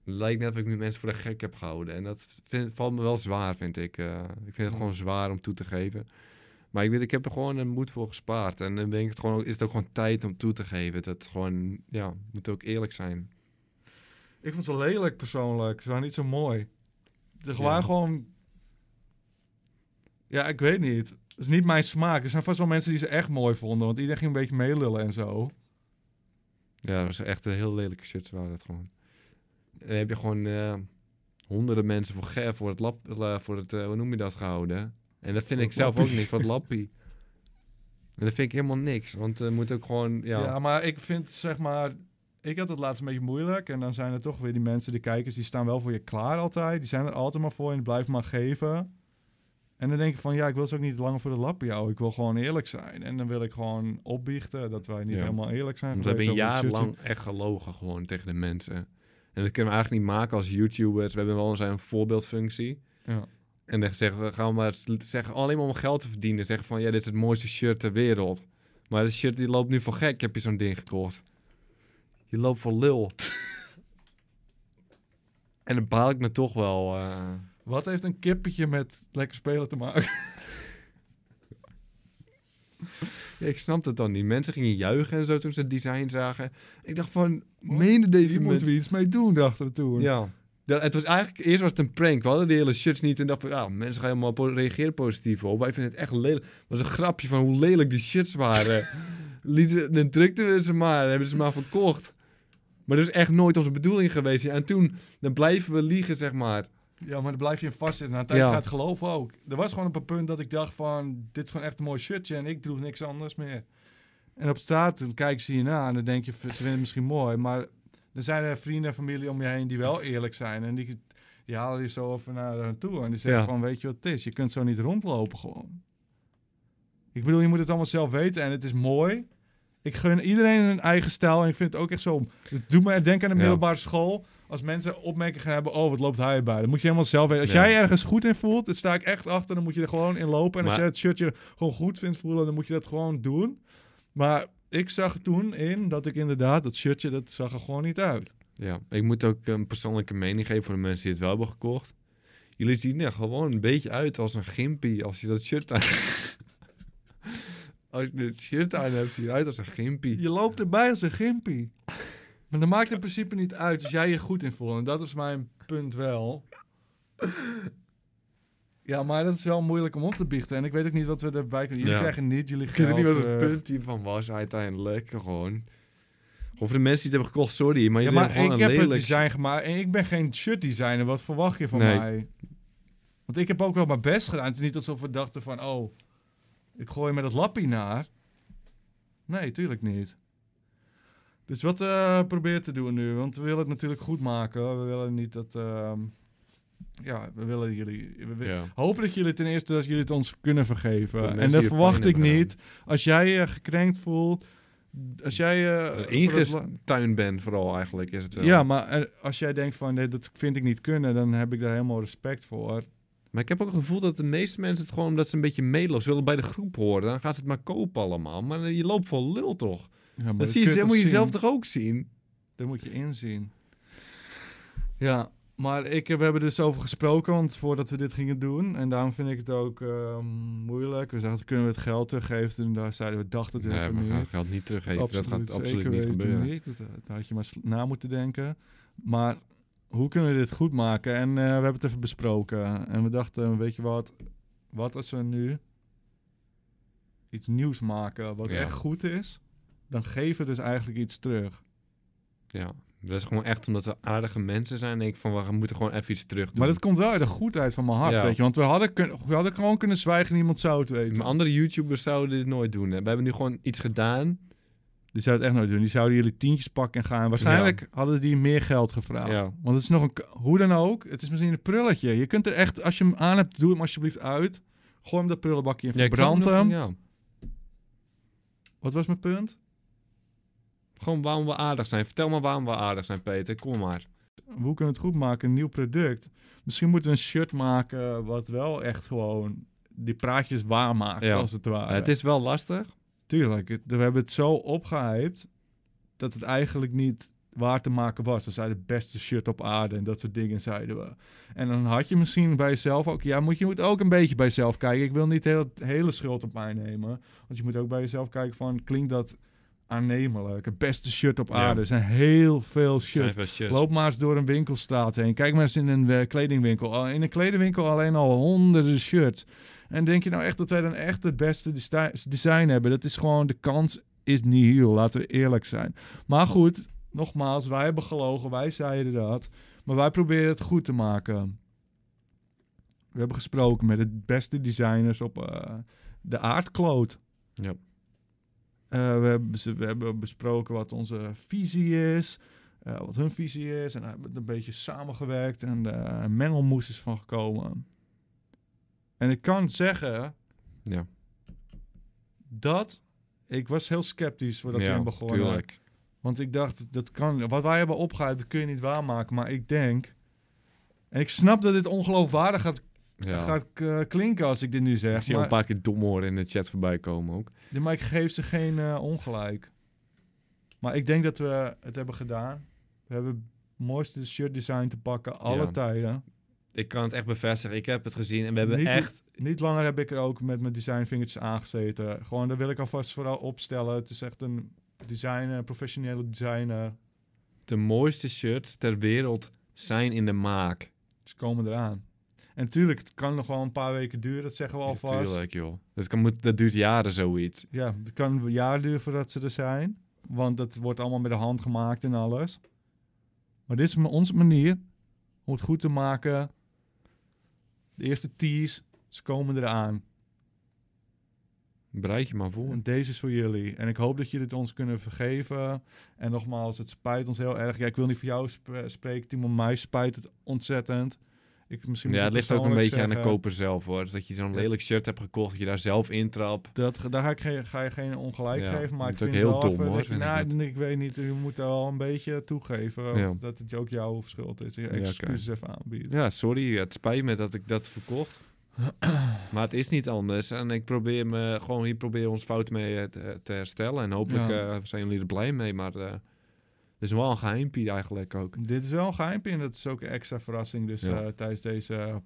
het lijkt net of ik nu mensen voor de gek heb gehouden. En dat vind, valt me wel zwaar, vind ik. eh. ik vind het gewoon zwaar om toe te geven. Maar ik weet, ik heb er gewoon een moed voor gespaard. En dan denk ik het gewoon, is het ook gewoon tijd om toe te geven. Dat gewoon, ja, moet ook eerlijk zijn.
Ik vond ze lelijk persoonlijk. Ze waren niet zo mooi. Ze
Ja.
waren gewoon. Ja, ik weet niet. Het is niet mijn smaak. Er zijn vast wel mensen die ze echt mooi vonden. Want iedereen ging een beetje meelullen en zo.
Ja, dat was echt een heel lelijke shirts waren dat gewoon. En dan heb je gewoon eh, honderden mensen voor, ge- voor het lab, eh, voor het, eh, hoe noem je dat, gehouden. En dat vind
Voor
ik zelf
lappie.
ook niks, wat lappie. En dat vind ik helemaal niks, want er moet ook gewoon, ja.
Ja. maar ik vind zeg maar. Ik had het laatst een beetje moeilijk. En dan zijn er toch weer die mensen, de kijkers, die staan wel voor je klaar altijd. Die zijn er altijd maar voor en blijf maar geven. En dan denk ik van ja, ik wil ze ook niet langer voor de lap jou. Ik wil gewoon eerlijk zijn. En dan wil ik gewoon opbiechten dat wij niet
Ja.
helemaal eerlijk zijn.
Want we hebben een
geweest
jaar
over het
lang echt gelogen gewoon tegen de mensen. En dat kunnen we eigenlijk niet maken als YouTubers. We hebben wel eens een voorbeeldfunctie.
Ja.
En dan zeggen we, gaan we maar sl- zeggen, alleen maar om geld te verdienen. Zeggen van, ja, dit is het mooiste shirt ter wereld. Maar dat shirt die loopt nu voor gek, heb je zo'n ding gekocht. Je loopt voor lul. *laughs* en dan baal ik me toch wel. eh.
YouTube. Wat heeft een kippetje met lekker spelen te maken? *laughs*
Ja, ik snap het dan niet. Mensen gingen juichen en zo toen ze het design zagen. Ik dacht van, menen deze
Hier
mensen...
moeten we iets mee doen, dachten we toen.
Ja. Dat, het was eigenlijk, eerst was het een prank. We hadden die hele shirts niet en dachten, ja, mensen gaan helemaal po- reageren positief op. Wij vinden het echt lelijk. Het was een grapje van hoe lelijk die shirts *laughs* waren. Lieten, dan drukten we ze maar en hebben ze maar verkocht. Maar dat is echt nooit onze bedoeling geweest. En toen, dan blijven we liegen, zeg maar.
Ja, maar dan blijf je in vastzitten. Na een tijd
Ja.
gaat het geloof ook. Er was gewoon een paar punten dat ik dacht van... dit is gewoon echt een mooi shirtje en ik droeg niks anders meer. En op straat dan kijken ze je na en dan denk je... ze vinden het misschien mooi, maar... dan zijn er vrienden en familie om je heen die wel eerlijk zijn. En die, die halen je zo even naar hen toe. En die zeggen
Ja.
van, weet je wat het is? Je kunt zo niet rondlopen gewoon. Ik bedoel, je moet het allemaal zelf weten en het is mooi... Ik gun iedereen een eigen stijl en ik vind het ook echt zo. Het doet me denken aan
Ja.
de middelbare school. Als mensen opmerkingen gaan hebben, oh, wat loopt hij bij? Dan moet je helemaal zelf weten. Als
Ja.
jij ergens goed in voelt, dan sta ik echt achter. Dan moet je er gewoon in lopen. En als
Maar-
jij het shirtje gewoon goed vindt voelen, dan moet je dat gewoon doen. Maar ik zag toen in dat ik inderdaad, dat shirtje, dat zag er gewoon niet uit.
Ja, ik moet ook een persoonlijke mening geven voor de mensen die het wel hebben gekocht. Jullie zien er gewoon een beetje uit als een gimpie als je dat shirt *laughs* aan Als je dit shirt aan hebt, zie je eruit als een gimpie.
Je loopt erbij als een gimpie. Maar dat maakt in principe niet uit als jij je goed in voelt. En dat is mijn punt wel. Ja, maar dat is wel moeilijk om op te biechten. En ik weet ook niet wat we erbij kunnen. Jullie
Ja.
krijgen niet, jullie
Ik weet ook
geld eh,
niet wat het
terug.
punt hiervan was uiteindelijk. Gewoon. Gewoon voor de mensen die het hebben gekocht, sorry. Maar
Ja,
jullie
maar
hebben gewoon
ik
een
heb het
lelijk...
design gemaakt en ik ben geen shirt designer. Wat verwacht je van
Nee.
mij? Want ik heb ook wel mijn best gedaan. Het is niet alsof we dachten van, oh, ik gooi met dat lappie naar. Nee, tuurlijk niet. Dus wat eh probeer te doen nu? Want we willen het natuurlijk goed maken. We willen niet dat... ehm, ja, we willen jullie... we- we-
Ja.
Hopen dat jullie ten eerste dat jullie het ons kunnen
Dat
vergeven.
mensen
En dat
hier
verwacht
pijn
ik
hebben
niet. Als jij je gekrenkt voelt... Als jij... eh, voor het la-
Ingestuin ben vooral eigenlijk is het wel.
ja, maar eh, als jij denkt van nee, dat vind ik niet kunnen, dan heb ik daar helemaal respect voor.
Maar ik heb ook het gevoel dat de meeste mensen het gewoon omdat ze een beetje meeloos willen bij de groep horen. Dan gaan ze het maar kopen allemaal. Maar eh, je loopt voor lul toch?
Ja, maar
Dat, zie je,
kun
dat moet je
toch
zelf
zien?
toch ook zien?
Dat moet je inzien. Ja, maar ik, we hebben er dus over gesproken, want voordat we dit gingen doen. En daarom vind ik het ook ehm, moeilijk. We zagen, kunnen we het geld teruggeven? En daar zeiden we, dachten het even niet.
geld niet teruggeven.
zeker weten niet. Dat, daar had je maar sl- na moeten denken. Maar hoe kunnen we dit goed maken? En eh, we hebben het even besproken. En we dachten, weet je wat? Wat als we nu iets nieuws maken wat
Ja.
echt goed is? Dan geven we dus eigenlijk iets terug.
Ja, dat is gewoon echt omdat we aardige mensen zijn. Denk ik van, we moeten gewoon even iets terug doen.
Maar dat komt wel uit de goedheid van mijn hart,
Ja.
weet je. Want we hadden, kun- we hadden gewoon kunnen zwijgen en niemand zou het weten.
Maar andere YouTubers zouden dit nooit doen. Hè. We hebben nu gewoon iets gedaan.
Die zouden het echt nooit doen. Die zouden jullie tientjes pakken en gaan. Waarschijnlijk hadden die meer geld gevraagd.
Ja.
Want het is nog een... k- Hoe dan ook, het is misschien een prulletje. Je kunt er echt... Als je hem aan hebt, doe hem alsjeblieft uit. Gooi hem dat prullenbakje in.
Ja, ik
Verbrand
snap
hem.
nog- Ja.
Wat was mijn punt?
Gewoon waarom we aardig zijn. Vertel maar waarom we aardig zijn, Peter. Kom maar.
Hoe kunnen we het goed maken? Een nieuw product. Misschien moeten we een shirt maken wat wel echt gewoon... Die praatjes waarmaakt,
Ja.
als het ware.
Eh, het is wel lastig.
Tuurlijk, het- we hebben het zo opgehyped dat het eigenlijk niet waar te maken was. We zeiden beste shirt op aarde en dat soort dingen zeiden we. En dan had je misschien bij jezelf ook... Ja, moet, je moet ook een beetje bij jezelf kijken. Ik wil niet heel, de hele schuld op mij nemen. Want je moet ook bij jezelf kijken van... Klinkt dat aannemelijk? Het beste shirt op
Ja.
aarde. Er zijn heel veel
Zijn
shirts.
het wel shirts.
Loop maar eens door een winkelstraat heen. Kijk maar eens in een eh, kledingwinkel. Al- In een kledingwinkel alleen al honderden shirts. En denk je nou echt dat wij dan echt het beste desti- design hebben? Dat is gewoon, de kans is niet heel, laten we eerlijk zijn. Maar goed, nogmaals, wij hebben gelogen, wij zeiden dat. Maar wij proberen het goed te maken. We hebben gesproken met de beste designers op eh, de aardkloot.
Ja.
Eh, we, hebben, ze- we hebben besproken wat onze visie is, eh, wat hun visie is. En daar hebben we een beetje samengewerkt en eh, een mengelmoes is van gekomen. En ik kan zeggen
Ja.
dat ik was heel sceptisch voordat we
ja,
hem begonnen.
Tuurlijk.
Want ik dacht, dat kan, wat wij hebben opgehaald, dat kun je niet waarmaken. Maar ik denk, en ik snap dat dit ongeloofwaardig gaat,
Ja.
gaat eh, klinken als ik dit nu
Ik
zeg.
zie al
Maar,
een paar keer dom horen in de chat voorbij komen ook.
maar ik geef ze geen eh, ongelijk. Maar ik denk dat we het hebben gedaan. We hebben het mooiste shirt design te pakken, alle
Ja.
tijden.
Ik kan het echt bevestigen. Ik heb het gezien en we hebben
Niet-
echt...
Niet langer heb ik er ook met mijn designvingertjes aangezeten. Gewoon, daar wil ik alvast vooral opstellen. Het is echt een designer, professionele designer.
De mooiste shirts ter wereld zijn in de maak.
Ze komen eraan. En natuurlijk, het kan nog wel een paar weken duren, dat zeggen we alvast.
Tuurlijk, joh. Dat, kan, moet, dat duurt jaren zoiets.
Ja, het kan een jaar duren voordat ze er zijn. Want dat wordt allemaal met de hand gemaakt en alles. Maar dit is m- onze manier om het goed te maken. De eerste teas, ze komen eraan.
Bereid je maar voor.
En deze is voor jullie. En ik hoop dat jullie het ons kunnen vergeven. En nogmaals, het spijt ons heel erg. Ja, ik wil niet voor jou sp- spreken, Timo. Mij spijt het ontzettend. Ik, misschien moet
Ja,
ik
het ligt ook een beetje
persoonlijk
aan de
zeggen.
koper zelf hoor. Dus dat je zo'n
Ja.
lelijk shirt hebt gekocht, dat je daar zelf intrapt.
Dat, ge- daar ga, ik geen, ga je geen ongelijk
Ja,
geven, maar
dat is
ik
ook
vind
heel
wel
dom,
even
hoor,
dat je-
vind ik
nou,
dat.
ik weet niet, je moet daar wel een beetje toegeven of
Ja.
dat het ook jouw schuld is. Je
oké.
excuses even aanbieden.
Ja, sorry, het spijt me dat ik dat
*clears throat*
verkocht. maar het is niet anders. En ik probeer me gewoon hier probeer ons fout mee eh, te, te herstellen. En hopelijk
Ja.
eh, zijn jullie er blij mee. Maar eh het is wel een geheimpie eigenlijk ook.
Dit is wel een geheimpje en dat is ook een extra verrassing dus
Ja.
eh, tijdens deze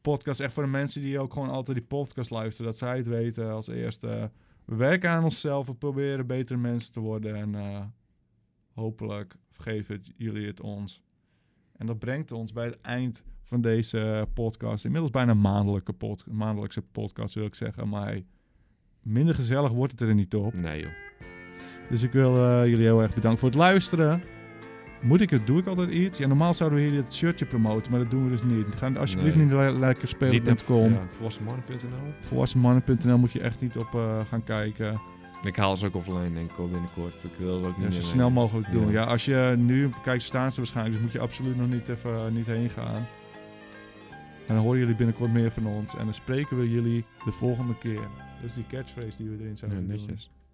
podcast. Echt voor de mensen die ook gewoon altijd die podcast luisteren, dat zij het weten als eerste. We werken aan onszelf, we proberen betere mensen te worden en eh, hopelijk vergeven het- jullie het ons. En dat brengt ons bij het eind van deze podcast. Inmiddels bijna een maandelijke pod- maandelijkse podcast wil ik zeggen, maar hey, minder gezellig wordt het er niet op.
Nee joh.
Dus ik wil eh, jullie heel erg bedanken voor het luisteren. Moet ik het? Doe ik altijd iets? Ja, normaal zouden we hier dit shirtje promoten, maar dat doen we dus niet. Ga alsjeblieft
Nee.
niet le- lekker spelen.com.
ja, volwassenmannen.nl.
Volwassenmannen.nl moet je echt niet op eh, gaan kijken.
Ik haal ze ook offline denk ik hoor, binnenkort. Ik wil het ook niet
Ja,
meer
zo snel
mee.
mogelijk doen.
Ja.
Ja. als je nu kijkt, staan ze waarschijnlijk. Dus moet je absoluut nog niet even eh, niet heen gaan. En dan horen jullie binnenkort meer van ons. En dan spreken we jullie de volgende keer. Dat is die catchphrase die we erin zouden
Ja,
doen.
netjes.